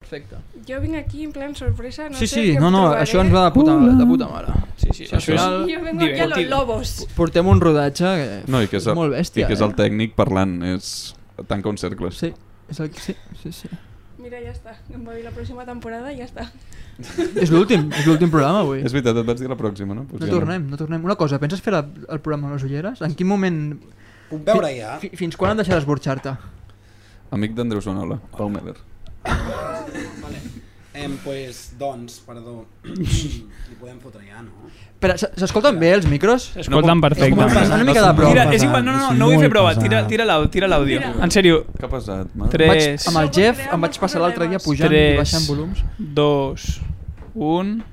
perfecte. Jo vinc aquí en plan sorpresa, no sí, sé sí, què em no, no, trobaré. això ens va de puta, de puta mare. Sí, sí, Sí, al això és- final Jo vengo aquí a los divertido. lobos. portem un rodatge que, No, i que és el, molt bèstia. i que és el eh? tècnic parlant, és tanca un cercle. Sí, és el... sí, sí, sí. Mira, ja està. Em va dir la pròxima temporada i ja està. És l'últim, és l'últim programa avui. És veritat, et vaig dir la pròxima, no? Pues No ja tornem, no tornem. Una cosa, penses fer la, el programa amb les ulleres? En quin moment... Puc veure ja. Fi, fins quan han deixat esborxar-te? Amic d'Andreu Sonola, Pau Meller. Em, pues, doncs, perdó. Li podem fotre ja, no? Espera, se- s'escolten bé els micros? Escolta'm perfecte. Una no, mica de no, prova. Tira, és igual, no, no, no, no vull fer prova. Tira, tira l'au- tira l'àudio. Mira. En sèrio, Què ha passat, Marc? Tres. Vaig, amb el Això pot Jeff crear em vaig molts passar l'altre dia problemes. pujant i Tres. baixant volums. dos, un...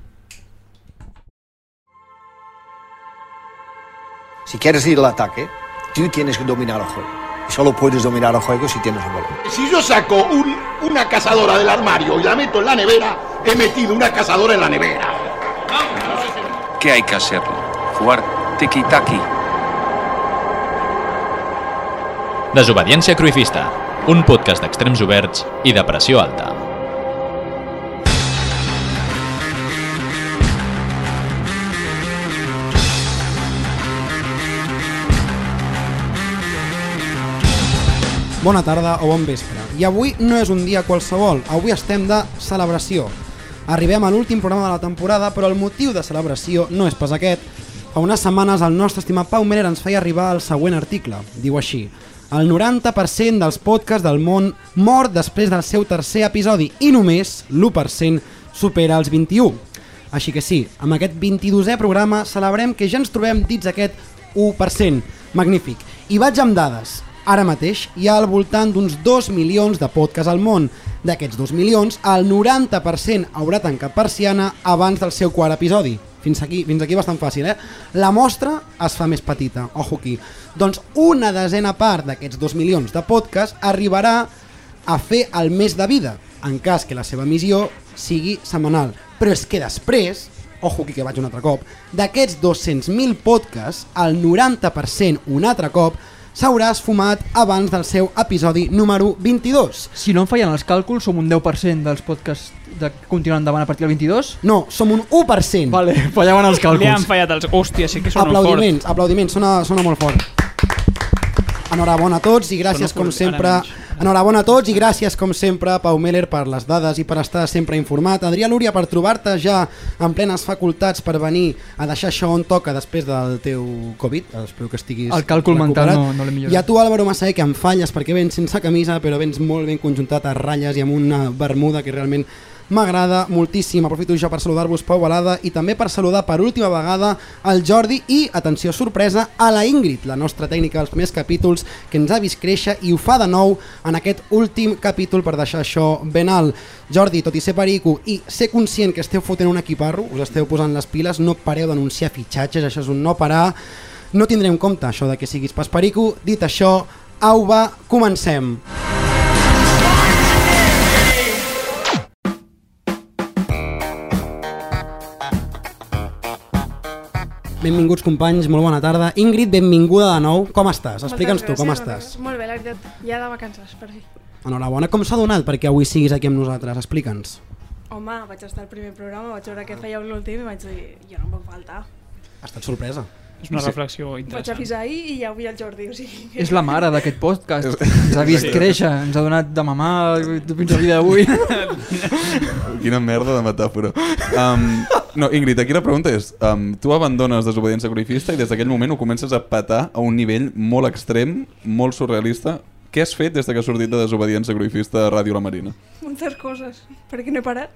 Si quieres ir al ataque, tú tienes que dominar el juego. Y solo puedes dominar el juego si tienes un balón. Si yo saco un- una cazadora del armario y la meto en la nevera, he metido una cazadora en la nevera. ¿Qué hay que hacerlo? Jugar tiki-taki. Desobediència Cruifista, un podcast d'extrems oberts i de pressió alta. Bona tarda o bon vespre. I avui no és un dia qualsevol, avui estem de celebració. Arribem a l'últim programa de la temporada, però el motiu de celebració no és pas aquest. Fa unes setmanes el nostre estimat Pau Meller ens feia arribar el següent article. Diu així, el 90% dels podcasts del món mor després del seu tercer episodi i només l'1% supera els 21. Així que sí, amb aquest 22è programa celebrem que ja ens trobem dins aquest 1%. Magnífic. I vaig amb dades. Ara mateix hi ha al voltant d'uns 2 milions de podcasts al món. D'aquests 2 milions, el 90% haurà tancat persiana abans del seu quart episodi. Fins aquí, fins aquí bastant fàcil, eh? La mostra es fa més petita, ojo aquí. Doncs una desena part d'aquests 2 milions de podcasts arribarà a fer el mes de vida, en cas que la seva missió sigui setmanal. Però és que després, ojo aquí que vaig un altre cop, d'aquests 200.000 podcasts, el 90% un altre cop, s'haurà esfumat abans del seu episodi número 22. Si no em fallen els càlculs, som un 10% dels podcasts de continuar endavant a partir del 22. No, som un 1%. Vale, fallaven els Li han càlculs. fallat els... Hòstia, sí que sona aplaudiments, aplaudiments, sona, sona molt fort. Enhorabona a tots i gràcies Sona com fort, sempre ara menys. Enhorabona a tots i gràcies com sempre Pau Meller per les dades i per estar sempre informat Adrià Lúria per trobar-te ja en plenes facultats per venir a deixar això on toca després del teu Covid Eh, espero que estiguis El càlcul mental recuperat. no- no l'he millorat. I a tu Álvaro Massaé que em falles perquè vens sense camisa però vens molt ben conjuntat a ratlles i amb una bermuda que realment m'agrada moltíssim. Aprofito ja per saludar-vos Pau Balada i també per saludar per última vegada el Jordi i, atenció sorpresa, a la Ingrid, la nostra tècnica dels primers capítols que ens ha vist créixer i ho fa de nou en aquest últim capítol per deixar això ben alt. Jordi, tot i ser perico i ser conscient que esteu fotent un equiparro, us esteu posant les piles, no pareu d'anunciar fitxatges, això és un no parar. No tindrem en compte això de que siguis pas perico. Dit això, au va, comencem. Benvinguts companys, molt bona tarda. Ingrid, benvinguda de nou. Com estàs? Explica'ns tu, Moltes com gràcies, estàs? Molt bé, la veritat, ja de vacances, per fi. Enhorabona, com s'ha donat perquè avui siguis aquí amb nosaltres? Explica'ns. Home, vaig estar al primer programa, vaig veure que Ah. feia un últim i vaig dir, jo no em puc faltar. Ha estat sorpresa. fort. És una reflexió Vaig interessant. avisar ahir i avui el Jordi, o sigui... que- És la mare d'aquest podcast. Ens ha vist créixer, ens ha donat de mamar fins a vida d'avui. Quina merda de metàfora. Um, no, Ingrid, aquí la pregunta és, um, tu abandones desobediència corifista i des d'aquell moment ho comences a petar a un nivell molt extrem, molt surrealista. Què has fet des de que has sortit de desobediència corifista a Ràdio La Marina? Moltes coses, perquè no he parat.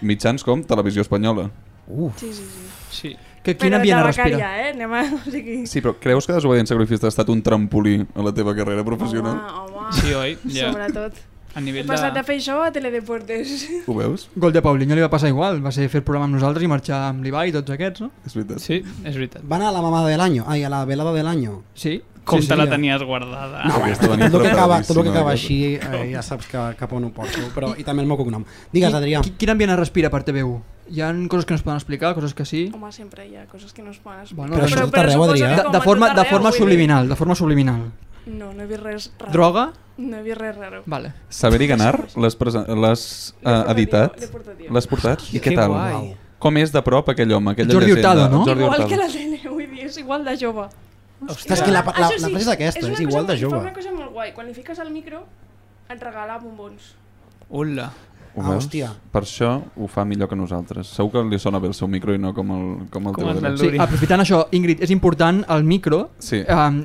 Mitjans com Televisió Espanyola. Sí, sí, sí. Sí. Que quin Però ambient de es respira. becària, eh? Anem a... O sigui... Sí, però creus que desobediència corifista ha estat un trampolí a la teva carrera professional? Home, home. Sí, oi? Ja. Sobretot. A He nivell passat de de... fer això a Teledeportes. Ho veus? Gol de Paulinho li va passar igual, va ser fer el programa amb nosaltres i marxar amb l'Ibai i tots aquests, no? És veritat. Sí, és veritat. Van a la mamada del año, ai, a la velada del año. Sí. Com sí, te sí, la ja. tenies guardada. No, aquesta venia Tot lo que acaba, tot lo que preparadíssima, acaba aquesta. així eh, ja saps que, cap on ho porto, però i també el meu cognom. Digues, Qui- Adrià. qui- Quin ambient es respira per TV1? Hi ha coses que no es poden explicar, coses que sí. Home, sempre hi ha coses que no es poden explicar. Bueno, Però això és tot arreu, suposo que Adrià. de, com de, a forma, tot de arreu, forma vull dir- subliminal, de forma subliminal. No, no he vist res raro. Droga, No he vist res raro. Vale. Saber i ganar, l'has presen- l'has eh, portat editat? jo, l'he portat jo. L'has portat? I què Que tal? guai. Com és de prop aquell home? Aquella Jordi llegenda? Hurtado, no? Jordi igual Hurtado. que la tele, vull dir, és igual de jove. Ostres, que la, la, Això la frase és aquesta, és, una cosa igual de molt- Fa jove. una cosa molt guai. Quan li fiques al micro, et regala bombons. Hola. Ho Ah, veus? hòstia. Per això ho fa millor que nosaltres. Segur que li sona bé el seu micro i no com el, com el Com teu. el Dani. del- Sí, aprofitant això, Ingrid, és important el micro. Sí. Um,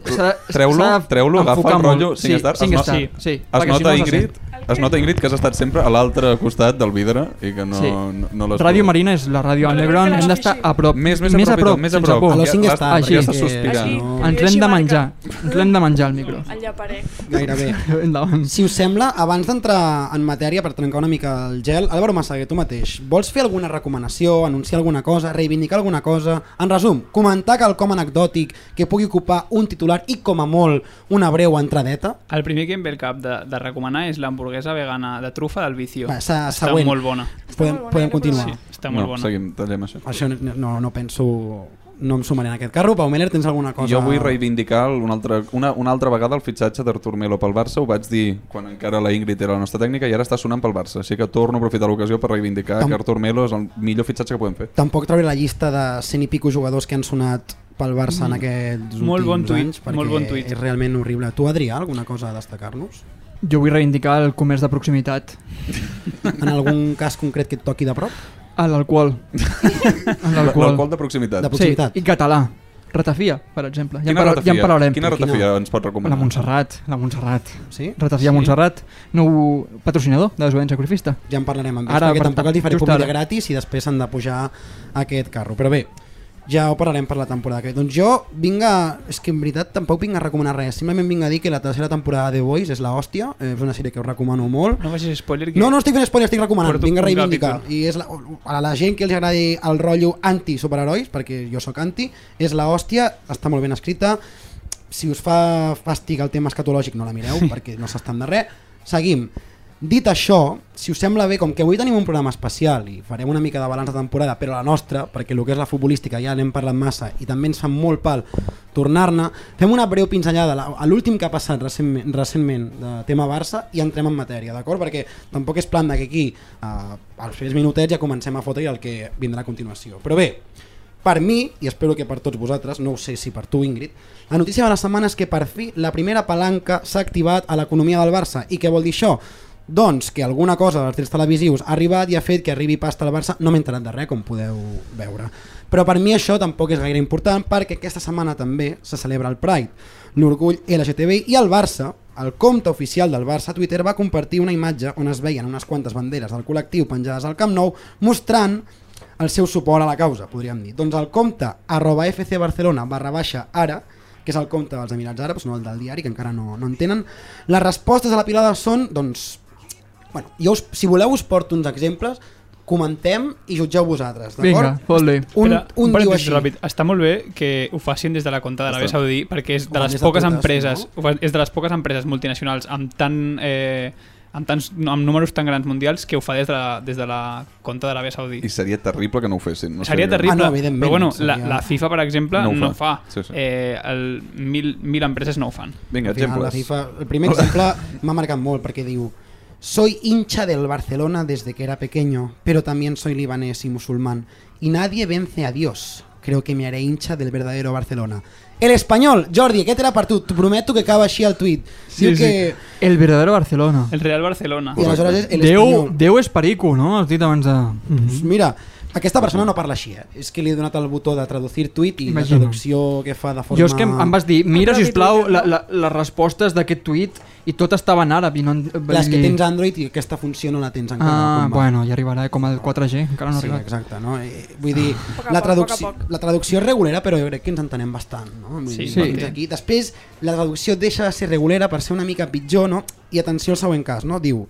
Treu-lo, treu-lo, agafa el rotllo 5 stars. Sí, no- 5 stars. sí. Sí, Es perquè si no nota, se Ingrid, sent. es nota, Ingrid, que has estat sempre a l'altre costat del vidre i que no, Sí. no, no sent. l'has... Ràdio pogut. Marina és la ràdio al Però Lebron, crec que hem la d'estar sí. a prop. Més, més, a prop, i tot, més a sense prop. por. A los cinc ja, stars. ja està Així, sospirant. Així, no. que Ah, Ens jo l'hem així de marca. menjar, ens l'hem de menjar, el micro. El llaparé. Gairebé. Endavant. Si us sembla, abans d'entrar en matèria per trencar una mica el gel, Álvaro Massaguer, tu mateix, vols fer alguna recomanació, anunciar alguna cosa, reivindicar alguna cosa? En resum, comentar quelcom anecdòtic que pugui ocupar un titular i, com a molt, una breu entradeta? El primer que em ve al cap de, de recomanar és l'hamburguesa vegana de trufa del vicio. Va, se- Està següent. molt bona. Podem, molt bona, podem jo continuar. Sí, Ah. està molt no, bona. seguim, tallem això. Això no, no, no penso... No em sumaré en aquest carro. Pau Meller, tens alguna cosa? Jo vull reivindicar el- una altra, una, una altra vegada el fitxatge d'Artur Melo pel Barça. Ho vaig dir quan encara la Ingrid era la nostra tècnica i ara està sonant pel Barça. Així que torno a aprofitar l'ocasió per reivindicar Tam- que Artur Melo és el millor fitxatge que podem fer. Tampoc trauré la llista de 100 i pico jugadors que han sonat pel Barça en aquests Mm. Molt últims bon tuit, anys, perquè molt bon tuit. és Eh, realment horrible. Tu, Adrià, alguna cosa a destacar-nos? Jo vull reivindicar el comerç de proximitat, En algun cas concret que et toqui de prop? a l'alcohol. A L'alcohol l'alcohol. de proximitat. De Sí, proximitat. i català. Ratafia, per exemple. Ja en, Quina parla, ja ratafia? en parlarem. Quina ratafia Quina? ens pot recomanar? La Montserrat, la Montserrat. Sí? Sí. Ratafia sí. Montserrat, nou patrocinador de desobediència sacrifista. Ja en parlarem amb ells, Ara, perquè per tampoc tant, els hi faré just publi ara. gratis i després s'han de pujar a aquest carro. Però bé, ja ho parlarem per la temporada que ve. Doncs jo vinc a... És que en veritat tampoc vinc a recomanar res. Simplement vinc a dir que la tercera temporada de The Boys és la hòstia. eh, És una sèrie que us recomano molt. No facis spoiler. Que... No, no estic fent spoiler, estic recomanant, Porto vinc a un reivindicar. capítol. I és la, a la gent que els agradi el rotllo anti-superherois, perquè jo sóc anti, és la hòstia, està molt ben escrita, si us fa fàstic el tema escatològic no la mireu, perquè no s'estan de res. Seguim. Dit això, si us sembla bé, com que avui tenim un programa especial i farem una mica de balanç de temporada, però la nostra, perquè el que és la futbolística ja n'hem parlat massa i també ens fa molt pal tornar-ne, fem una breu pinzellada la- a l'últim que ha passat recentment, recentment de tema Barça i entrem en matèria, d'acord? Perquè tampoc és plan de que aquí, eh, als primers minutets, ja comencem a fotre el que vindrà a continuació. Però bé, per mi, i espero que per tots vosaltres, no ho sé si per tu, Ingrid, la notícia de la setmana és que per fi la primera palanca s'ha activat a l'economia del Barça. I què vol dir això? Doncs que alguna cosa dels trets televisius ha arribat i ha fet que arribi pasta al Barça. No m'he enterat de res, com podeu veure. Però per mi això tampoc és gaire important perquè aquesta setmana també se celebra el Pride, l'orgull LGTBI i el Barça, el compte oficial del Barça a Twitter va compartir una imatge on es veien unes quantes banderes del col·lectiu penjades al Camp Nou mostrant el seu suport a la causa, podríem dir. Doncs el compte arroba FC Barcelona barra baixa ara, que és el compte dels Emirats Àrabs, no el del diari, que encara no, no en tenen, les respostes a la pilada són, doncs, bueno, jo us, si voleu us porto uns exemples, comentem i jutgeu vosaltres, Vinga, d'acord? fot-li. Un, Espera, un, diu parèntesi així, Ràpid. Està molt bé que ho facin des de la conta de l'Arabia Està. Saudí perquè és de Home, les des de poques totes, empreses no? ho fa- és de les poques empreses multinacionals amb tan... Eh, amb, tants, amb números tan grans mundials que ho fa des de la, des de la conta de l'Arabia Saudí. I seria terrible que no ho fessin. No seria sé. terrible, Ah, no, evidentment, però bueno, la, seria- la FIFA, per exemple, No ho no fa. ho fa. Sí, sí. Eh, el, mil, mil empreses no ho fan. Vinga, Al final, la exemples. FIFA, el primer exemple m'ha marcat molt perquè diu Soy hincha del Barcelona desde que era pequeño, pero también soy libanés y musulmán. Y nadie vence a Dios. Creo que me haré hincha del verdadero Barcelona. El español, Jordi, aquest era per tu. T'ho prometo que acaba així el tuit. Sí, Diu sí. que... El verdadero Barcelona. El Real Barcelona. I aleshores és el Déu, espanyol. Déu és perico, no? Has dit abans de... Mm Doncs Mira, aquesta persona no parla així, eh? És que li he donat el botó de traducir tuit i Imagino. la traducció que fa de forma... Jo és que em, em vas dir, mira, propi si plau Twitter, la, no? la, les respostes d'aquest tuit i tot estava en àrab i no... en- Les que vull dir- tens Android i aquesta funció no la tens encara. Ah, com va. bueno, ja arribarà eh, com el 4G, encara no Ah. ha Sí, arribat. exacte, no? Eh, Vull dir, Poc a la, poc, traducció, poc a poc. la traducció és regulera, però jo crec que ens entenem bastant, no? Vull Sí, dir, sí. fins aquí. Després, la traducció deixa de ser regulera per ser una mica pitjor, no? I atenció al següent cas, no? Diu,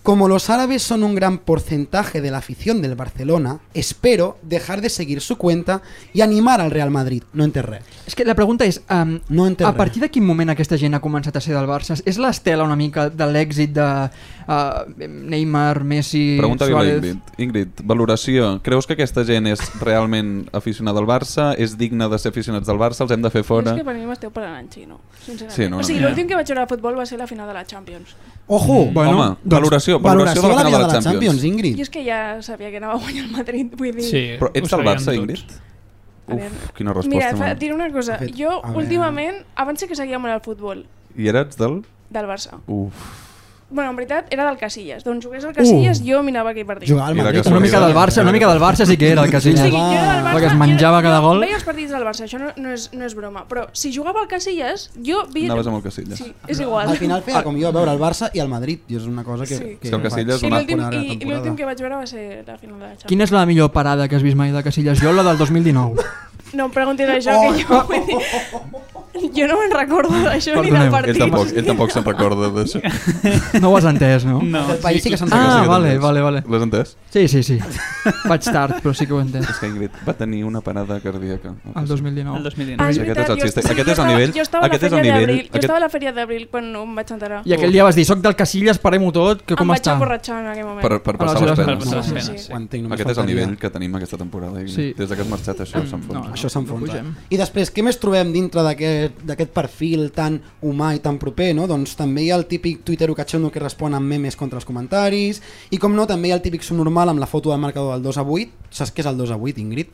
Como los árabes son un gran porcentaje de la afición del Barcelona, espero dejar de seguir su cuenta y animar al Real Madrid. No enterré. És que la pregunta és, um, No entenc a res. partir de quin moment aquesta gent ha començat a ser del Barça? És l'estela una mica de l'èxit de uh, Neymar, Messi, Pregunta-li a la Suárez... Ingrid. Ingrid, valoració. Creus que aquesta gent és realment aficionada al Barça? És digna de ser aficionats del Barça? Els hem de fer fora? És que per mi m'esteu parlant en xino, sincerament. Sí, no, o sigui, no. l'últim que vaig veure de futbol va ser la final de la Champions. Ojo, Bueno, Mm. Home, valoració, valoració, de la final de la Champions. I Ingrid. és que ja sabia que anava a guanyar el Madrid, vull dir... Sí, Però ets ho del Barça, sabien Ingrid? tots. A veure. Uf, quina Mira, resposta. fa, Mira, diré una cosa. De fet, jo, a veure. últimament, abans sí que seguia molt el futbol I eres del... del Barça. Uf. Bueno, en veritat, era del Casillas. D'on jugués el Uh. Casillas, jo mirava aquell partit. Jugar I al la Madrid. que Una mica del Barça, una mica del Barça sí que era el O Casillas. sigui, jo era del Barça, Perquè es menjava jo- cada gol. Jo veia els partits del Barça, això no, no, és, no és broma. Però si jugava al Casillas, jo veia... Anaves amb el Casillas. Sí, és igual. Al final feia com jo veure el Barça i el Madrid. I és una cosa que... Sí. Sí, el Casillas Sí, és una l'últim- bona i- I temporada. l'últim que vaig veure va ser la final de la Champions. Quina és la millor parada que has vist mai de Casillas? Jo la del 2019. No em preguntin això, que jo vull dir... Jo no me'n recordo d'això ni del Perdoneu, partit. Ell tampoc, ell tampoc se'n recorda d'això. No ho has entès, no? No, El país sí que se'n Ah, recorda. vale, entès. vale, vale. L'has entès? Sí, sí, sí. Vaig tard, però sí que ho he entès. És que Ingrid va tenir una parada cardíaca. El el 2019. 2019. és veritat, jo aquest és el xiste. estava- Aquest és jo el nivell- estava a la aquest és el feria nivell- d'abril. Jo aquest- estava a la feria d'abril quan em vaig enterar. I aquell dia vas dir, soc del Casillas, parem-ho tot, que com em està? Ah, vaig emborratxar en aquell moment. Per, per passar les Aleshores, Per penes. passar les Sí, penes, sí. sí. Ho entenc, només Aquest és el faltaria. nivell que tenim aquesta temporada. Ingrid. Sí. Des de que has marxat, això s'enfonsa. Això s'enfonsa. No, no I després, què més trobem dintre d'aquest d'aquest perfil tan humà i tan proper, no? Doncs també hi ha el típic tuitero catxondo que respon amb memes contra els comentaris, i com no, també hi ha el típic subnormal amb la foto del marcador del 2 a 8. Saps què és el 2 a 8, Ingrid?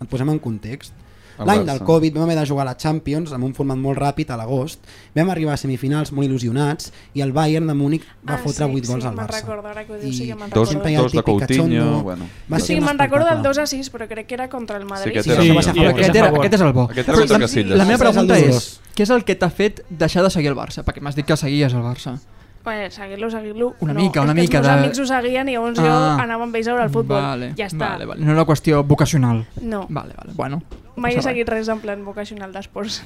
Et posem en context. El L'any Barça. del Covid vam haver de jugar a la Champions amb un format molt ràpid a l'agost, vam arribar a semifinals molt il·lusionats i el Bayern de Múnich va Ah, fotre sí, 8 gols sí, al me'n Barça. recordo, ara que ho dius, sí que me'n Dos, recordo. Sempre hi ha el dos de típic Coutinho... catxondo. Bueno. Va O ser sigui, un me'n recordo del 2 espectacle. a 6, però crec que era contra el Madrid. Sí, aquest Sí, era... sí, Sí, va ser Però favor. aquest era, aquest és el bo. Aquest era contra Casillas. La meva Aquest és el pregunta és, dolorós. què és el que t'ha fet deixar de seguir el Barça? Perquè m'has dit que seguies el Barça. Bueno, seguir-lo, seguir-lo. Una no, mica, una és que mica Els de- meus amics ho seguien i llavors jo Ah. anava amb ells a veure el futbol. Vale, ja està. Vale, vale. No era una qüestió vocacional. No, Vale, vale. Bueno, no mai he passa res. Ah. seguit res en plan vocacional d'esports.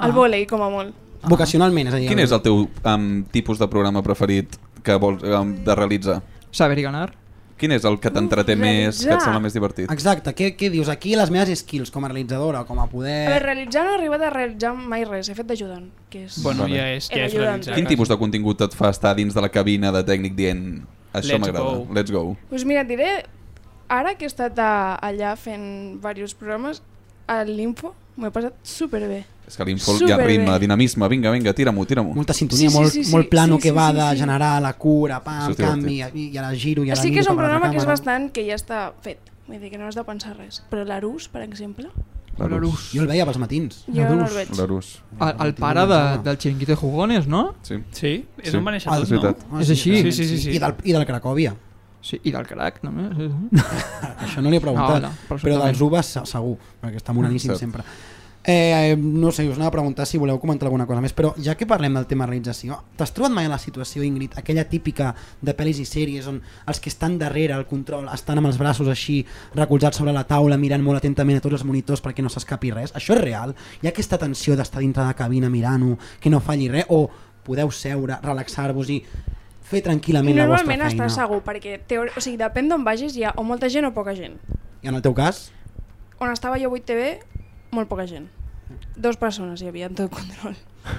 El vòlei, com a molt. Vocacionalment, és a dir... Quin és el teu um, tipus de programa preferit que vols um, de realitzar? Saber i ganar. Quin és el que t'entreté Uh, més, que et realitzar. sembla més divertit? Exacte, què, què dius? Aquí les meves skills com a realitzadora o com Eh. a A veure, poder... realitzar no he arribat a realitzar mai res, he fet d'ajudant, que és... Bueno, Vale. ja és, ja Era és ajudant. realitzar. Quin tipus de contingut et fa estar dins de la cabina de tècnic dient això Let's m'agrada, go." let's go. Pues mira, et diré, ara que he estat a, allà fent diversos programes, a l'Info m'ho he passat superbé. És que l'info hi ha Superbé. ritme, dinamisme, vinga, vinga, tira-m'ho, tira-m'ho. Molta Sí, sintonia, sí, molt, sí, sí, molt plano sí, que sí, va sí, de sí. generar la cura, Això pam, és canvi, i, i ara giro, i ara sí que és miro un cap a la programa que és càmera. bastant que ja està fet. Vull dir que no has de pensar res. Però l'Arús, per exemple, L'Arús. Jo el veia pels matins. jo no el veig. L'Arús, El, el pare de, del Chiringuito de Jugones, no? sí. Sí, és Sí. on va néixer Ah, tot, és veritat. no? Ah, És així. realment, Sí, sí, sí, sí. I del, i del Cracòvia. Sí, i del crac, només. Sí, sí. Això Ah, no li he preguntat. No, no, però però absolutament. dels Ubas se- segur, perquè està monaníssim Cert. sempre. Eh, eh, no sé, us anava a preguntar si voleu comentar alguna cosa més, però ja que parlem del tema realització, t'has trobat mai a la situació, Ingrid, aquella típica de pel·lis i sèries on els que estan darrere el control estan amb els braços així recolzats sobre la taula, mirant molt atentament a tots els monitors perquè no s'escapi res? Això és real? Hi ha aquesta tensió d'estar dintre de la cabina mirant-ho, que no falli res? O podeu seure, relaxar-vos i fer tranquil·lament la vostra Normalment feina? estàs segur, perquè teori... o sigui, depèn d'on vagis, hi ha o molta gent o poca gent. I en el teu cas? On estava jo 8 TV, molt poca gent. Dos persones hi havia en tot control.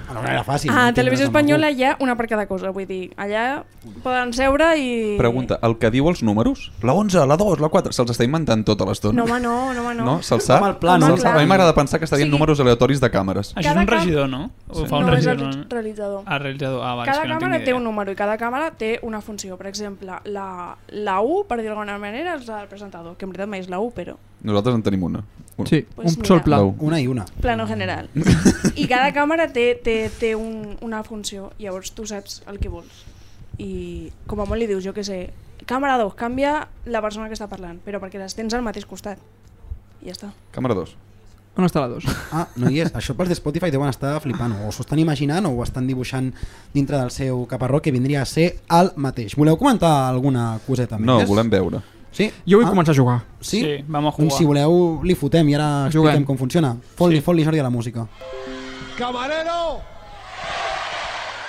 Alhora era fàcil. a entendre's Ah, Televisió amb algú. Espanyola hi ha una per cada cosa, vull dir, allà poden seure i... Pregunta, el que diu els números? La 11, la 2, la 4, se'ls està inventant tota l'estona? No, home, no, no, home, no. No, se'l sap? Home, el plano. Se'l Home, sap. clar. A mi m'agrada pensar que està dient Sí. números aleatoris de càmeres. Això és Cada un cam- regidor, no? Ho Sí. fa un no, és el regidor. re- realitzador. Ah, realitzador. Ah, vale, és Cada que no en càmera tinc ni té idea. un número i cada càmera té una funció. Per exemple, la, la U, per dir-ho d'alguna manera, és el presentador, que en veritat mai és la U, però Nosaltres en tenim una. Una. sí Pues un sol Doncs mira. pla. Blau. Una i una. plano general. I cada càmera té, té, té un, una funció, llavors tu saps el que vols. I com a molt li dius, jo que sé, càmera 2, canvia la persona que està parlant, però perquè les tens al mateix costat. I ja està. Càmera 2. On està la dos? Ah, no hi és. Això pels de Spotify deuen estar flipant. O s'ho estan imaginant o ho estan dibuixant dintre del seu caparró que vindria a ser el mateix. Voleu comentar alguna coseta més? No, volem veure. Sí? Jo vull Ah, començar a jugar. Sí? Sí, vam a Doncs jugar. si voleu, li fotem i ara expliquem Juguem. com funciona. Fot-li, fot-li, Jordi, a la música. ¡Camarero!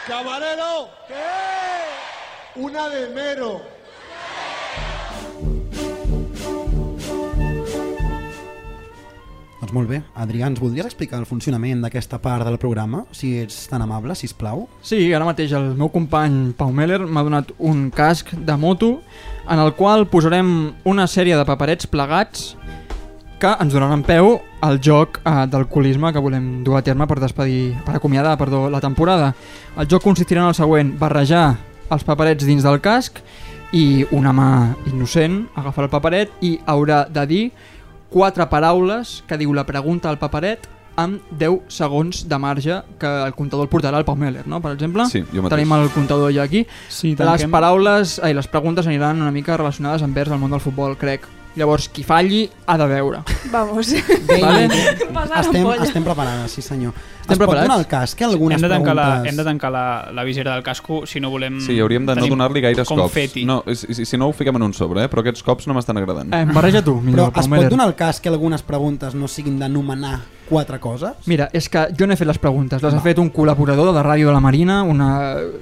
¡Camarero! ¿Qué? Una de mero. Doncs molt bé. Adrià, ens voldries explicar el funcionament d'aquesta part del programa? Si ets tan amable, si plau. Sí, ara mateix el meu company Pau Meller m'ha donat un casc de moto en el qual posarem una sèrie de paperets plegats que ens donaran peu al joc eh, d'alcoholisme que volem dur a terme per despedir, per acomiadar perdó, la temporada. El joc consistirà en el següent, barrejar els paperets dins del casc i una mà innocent agafar el paperet i haurà de dir quatre paraules que diu la pregunta al paperet amb 10 segons de marge que el comptador el portarà al Pau Meller, no? Per exemple, Sí, jo mateix. tenim el comptador ja aquí. Sí, les tanquem. paraules i les preguntes aniran una mica relacionades envers el món del futbol, crec. Llavors, qui falli ha de veure. Vamos. Vale. Passar estem, l'ampolla. estem preparades, sí senyor. Estem es preparats? pot donar el casc? Que algunes Hem de tancar, la, preguntes... hem de tancar la, la visera del casco si no volem... Sí, hauríem de no tenir donar-li gaires confeti. cops. No, si, si- si no ho fiquem en un sobre, eh? però aquests cops no m'estan agradant. Eh, barreja tu, Però millor, Pau es pot Meller. donar el cas que algunes preguntes no siguin d'anomenar quatre coses? Mira, és que jo n'he fet les preguntes. Les ha fet un col·laborador de la ràdio de la Marina, una...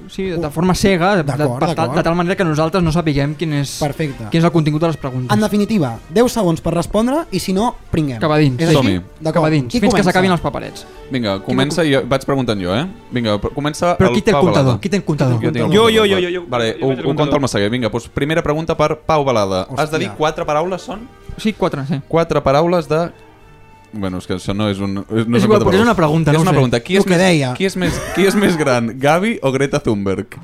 sí, de forma cega, de, de, Uh, D'acord, per tal, d'acord. de tal manera que nosaltres no sapiguem quin és, Perfecte. quin és el contingut de les preguntes. En definitiva, 10 segons per respondre i si no, pringuem. Cap a dins. És així? Som-hi. D'acord. Cap a dins, Qui fins que comença? s'acabin els paperets. Vinga, comença i jo, vaig preguntant jo, eh? Vinga, pr- comença Però el qui té el Pau comptador? Balada. Qui té el comptador? Jo, tinc el Jo, comptador, jo, jo, va. jo, jo. Vale, Jo ho, vaig al ho conta comptador. el Massaguer. Vinga, doncs primera pregunta per Pau Balada. Has de dir Hòstia. quatre paraules, són? Sí, quatre, sí. Quatre paraules de... Bueno, és que això no és un... és- No És són igual, quatre paraules. perquè és una pregunta, no és una ho sé. pregunta. Qui El és, que més, deia. qui, és més, qui és més gran, Gavi o Greta Thunberg?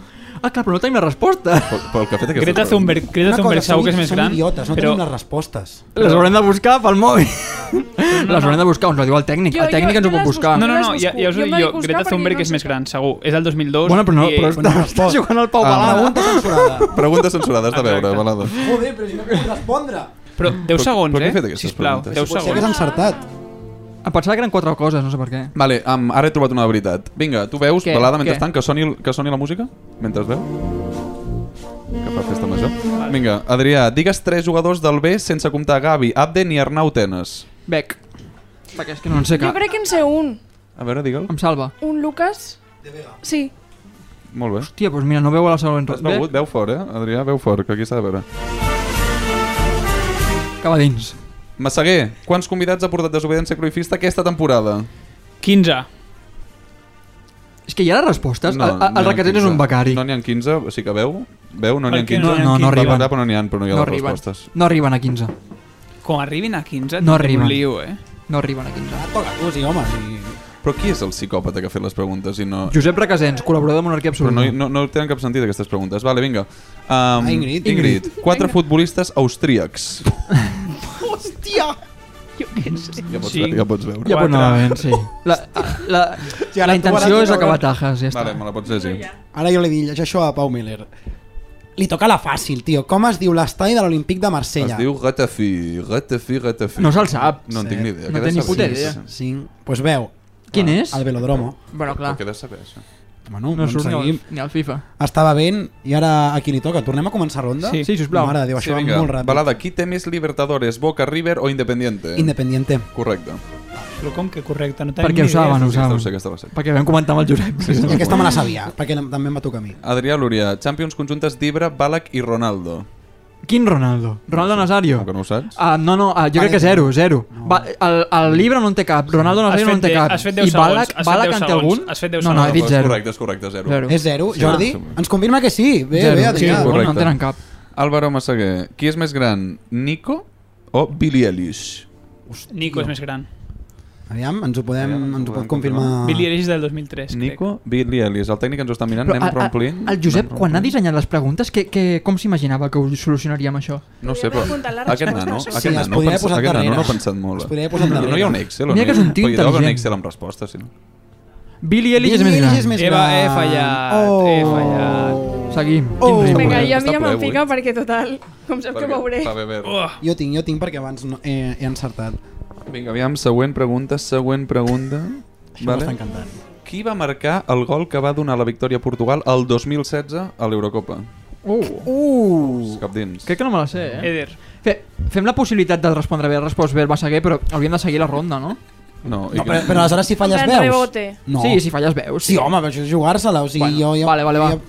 Ah, clar, però no tenim la resposta. Pel, pel que ha fet aquesta Greta Thunberg, Greta Una cosa, Thunberg segur som- que és més som gran, idiotes, no però tenim les respostes. Les haurem de buscar pel mòbil. Les haurem de buscar, ens ho diu el tècnic. Jo- El tècnic jo- ens ho jo pot les buscar. Ah. busco. No, no, les no, ja, busco. ja us ho Jo dic me jo, vaig buscar Greta perquè Thunberg no és sé més què. gran, segur. És del 2002. Bueno, però no, i- però està, està jugant al Pau Ah. Balada. Pregunta censurada. Preguntes censurades de veure, Exacte. Balada. Joder, però si no puc respondre. Però 10 Mm. Però- segons, però què he fet eh? aquestes Sisplau, preguntes? 10 Potser que has segons. encertat. Em pensava que eren quatre coses, no sé per què. Vale, um, ara he trobat una de veritat. Vinga, tu veus, Què? balada Què? mentrestant, que soni, el- que soni la música? Mentre es veu? Que fa festa major. Vinga, Adrià, digues tres jugadors del B sense comptar Gavi, Abden i Arnau Tenes. Bec. Perquè és que no en sé Jo cap. crec que en sé un. A veure, digue'l. Em salva. Un Lucas... Sí. Molt bé. Hòstia, doncs mira, no veu a la següent. Has begut? Veu fort, eh? Adrià, veu fort, que aquí s'ha de veure. Cap a dins. Massaguer, quants convidats ha portat desobediència cruifista aquesta temporada? 15. És que hi ha les respostes. No, el, el, n'hi el ha requetet és 15. un becari. No No, n'hi ha 15, o sigui que veu? Veu? No n'hi ha Per què 15. no n'hi ha No, no, 15? no arriben. Però no n'hi ha, però no hi ha les arriben. respostes. No arriben a 15. Com arribin a 15, No tindrem un arriben. lío, eh? Ah, No arriben a 15. Toca tu, sí, home. Sí. Però qui és el psicòpata que ha fet les preguntes i no... Josep Requesens, col·laborador de Monarquia Però Absoluta. no, no, no tenen cap sentit aquestes preguntes. Vale, vinga. Ah, Um, Ingrid. Ingrid. Quatre futbolistes austríacs. Ja pots, Cinc. ve- ja pots veure. Ja, Quatre. bueno, ben, sí. La, la, la, la intenció és acabar tajes, ja està. Vale, me la pots llegir. Ara jo li dic, llegeix això a Pau Miller. Li toca la fàcil, tio. Com es diu l'estadi de l'Olímpic de Es Marsella? diu Ratafí, Ratafí, Ratafí. No se'l sap. No en tinc ni idea. No Què de té ni saber? puta Sí, idea. sí, sí. Sí, pues veu, Quin és? al velodromo. Bueno, clar. Però què he de saber, això? Bueno, No no surt doncs ni al, seguim. ni al FIFA. Estava vent i ara a qui li toca? Tornem a començar ronda? Sí, sí, sisplau. Mare de Déu, això Sí, va vinga. molt ràpid. Balada, qui té més Libertadores, Boca, River o Independiente? Independiente. Correcte. Però com que correcte? No tenim Perquè ho ni idea. saben, ho Sí, aquesta ho sé, saben. aquesta la sé. Perquè vam comentar amb el Josep. Sí, I aquesta me la sabia, perquè la- també em va tocar a mi. Adrià Lúria, Champions conjuntes d'Ibra, Balak i Ronaldo. Quin Ronaldo? Ronaldo Nazario? Com que no ho saps? Ah, no, no, ah, jo crec que zero, zero. Va, el, el Libra no en té cap, Ronaldo Has Nazario no en fet té deu- cap. has fet deu I Balak, segons, has fet Balak deu en té segons, algun? has fet deu No, no, he segons. dit És zero. correcte, és correcte, zero. Zero. És zero, Sí, Jordi? sí. Ens confirma que sí. Bé, Zero. bé, Sí, Adrià. no, correcte. no en tenen cap. Álvaro Massaguer, qui és més gran, Nico o Billie Eilish? Nico és més gran. Aviam, ens ho podem, Aviam, ens ho pot podem confirmar. confirmar. Billie Eilish del 2003, crec. Nico, Billie Eilish. El tècnic ens ho està mirant, Però anem a- a- reomplint. el Josep, quan ha dissenyat les preguntes, que, que, com s'imaginava que ho solucionaríem això? No ho sé, però Podria haver apuntat la aquest resposta. nano, Sí, aquest es nano, podria haver pensa, posat aquest nano no darrere. ha pensat molt. Es podria haver posat no, no hi darrere. ha un Excel. on Mira que hi- és un tio Podria haver un intel·ligent. Excel amb respostes, si no. Billy Ellis és més Billie Eilish és gran. més Eva, he gran. fallat, Oh. he fallat. Seguim. Quin Oh. Vinga, River? ple, ja a està eh? mi ja ple me'n avui. fica perquè total, com sap que Perquè- veuré. va bé, bé. Jo tinc, jo tinc perquè abans no, eh, he encertat. Vinga, aviam, següent pregunta, següent pregunta. Això Vale. m'està encantant. Qui va marcar el gol que va donar la victòria a Portugal el 2016 a l'Eurocopa? Uh, Uh! Cap dins. crec que no me la sé, eh? Eder. Fe, fem la possibilitat de respondre bé, respost bé, va seguir, però hauríem de seguir la ronda, no? No, i No, que- però, però aleshores si falles En veus? rebote. No. Sí, si falles veus. Sí, home, però això és jugar-se-la. O sigui, Bueno, jo, jo, vale, vale, va. Jo,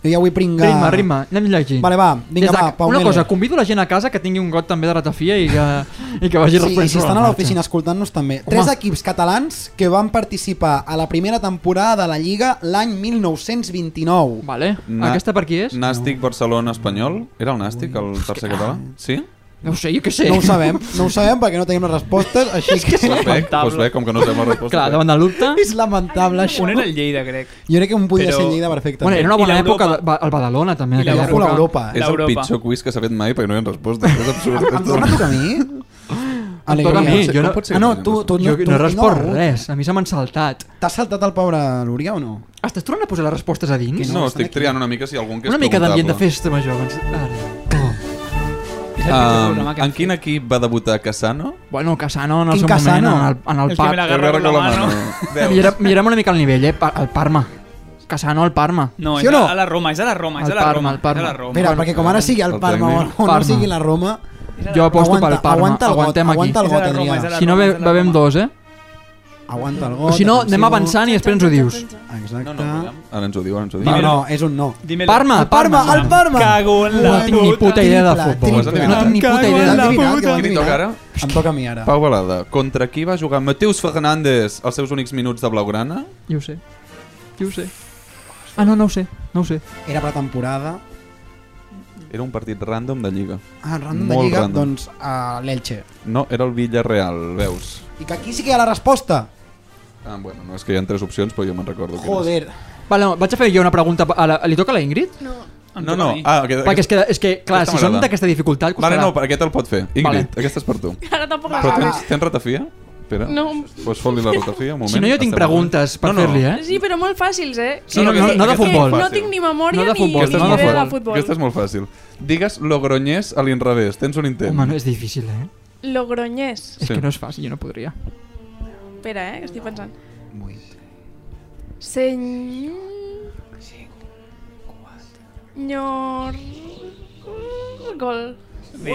Jo ja vull pringar... Ritme, ritme, anem llegint. Vale, va, vinga, Des de- va, Pau Una Melo. cosa, convido la gent a casa que tingui un got també de ratafia i que, i que vagi Sí, i responent si sobre estan la a marxa. l'oficina escoltant-nos també. Tres equips catalans que van participar a la primera temporada de la Lliga l'any 1929. Vale. Aquesta per qui és? Nàstic Barcelona Espanyol. Era el Nàstic, el tercer català? Sí? No ho sé, jo què sé. No ho sabem, no ho sabem perquè no tenim les respostes, així que... Doncs bé, doncs bé, com que no sabem la resposta. eh. Clar, bé. davant del dubte... És lamentable això. Un era el Lleida, crec. Jo crec que un podia Però- ser Lleida perfectament. Bueno, era una I bona l'Europa. època, de- va- el Badalona també. I aquella l'Europa. època. l'Europa. És el L'Europa. pitjor quiz que s'ha fet mai perquè no hi ha resposta. És absurd. Em, em torna a tocar a mi? toca a mi, Com jo no- pot ser Ah, que no, hagin tu, tu, Jo tu, no he respost no. res, a mi se m'han saltat. T'has saltat el pobre Lúria o no? Estàs tornant a posar les respostes a dins? Que No, No, estan estic aquí. triant una mica si hi ha algun que és Una mica d'ambient de preguntable. festa major. Abans... Ara. Oh. És el pitjor Um, programa que en hem quin fet. equip va debutar Casano? Bueno, Casano en el Quin seu moment, Cassano? en el, en el, El que me la pub. El Agarra Berro con la la mano. mano. Veus? Mirem, mirem una mica el nivell, eh? Pa- El Parma. Casano al Parma. No, Sí és o no? a la Roma, és a la Roma, és Al a la Parma, Roma. al Parma. És a la Roma. Mira, Bueno, perquè com ara sigui el el Parma o, tècnic. o no Parma. sigui la Roma, Jo aposto pel Parma. aguanta el Aguantem got, aquí. aguanta el És a la got, Roma, és a Adrià. la- Si no, ve, Roma, bevem Roma. dos, eh? Aguanta el O got. si no, anem Adrià. avançant i després ens ho dius. Exacte. No, no, veiem. ara ens ho diu, ara ens ho diu. No, no, és un no. Dímelo. Parma, El Parma, Parma. el Parma! Cago en la No tinc ni puta idea de futbol. Ho has No endevinat, tinc ni eh? puta idea de Cago en la Endevinat, puta. ja ho he Qui li toca ara? endevinat. Em toca a mi ara. Pau Balada, contra qui va jugar Mateus Fernández els seus únics minuts de Blaugrana? Jo ho sé. Jo ho sé. Ah, no, no ho sé. No ho sé. Era pretemporada. Era un partit random de Lliga. Ah, random de Molt Lliga, random. doncs a l'Elche. No, era el Villarreal, veus? I que aquí sí que hi ha la resposta. Ah, bueno, no, és que hi ha tres opcions, però jo me'n recordo quines. Joder. Vale, no, vaig a fer jo una pregunta. A la, li toca a la Ingrid? Em No, toca no, a mi. ah, aquest, Perquè és que, és que clar, Aquesta si són m'agrada. d'aquesta dificultat... Vale, Costarà. no, per aquest el pot fer. Ingrid, Vale. aquesta és per tu. Ara tampoc la Però sabré. tens, tens ratafia? Espera. No. Pues fot-li la ratafia, un moment. Si no, jo Estem tinc preguntes per no, no. fer-li, eh? Sí, però molt fàcils, eh? Sí, no, no, no de És que futbol. No tinc ni memòria No de ni, ni futbol, Aquesta és, no molt de idea de fàcil. futbol. Aquesta és molt fàcil. Digues Logroñés a l'inrevés. Tens un intent. Home, no, és difícil, eh? Logroñés. És Sí. que no és fàcil, jo no podria. Espera, eh? Estic pensant. Senyor... Senyor... Gol.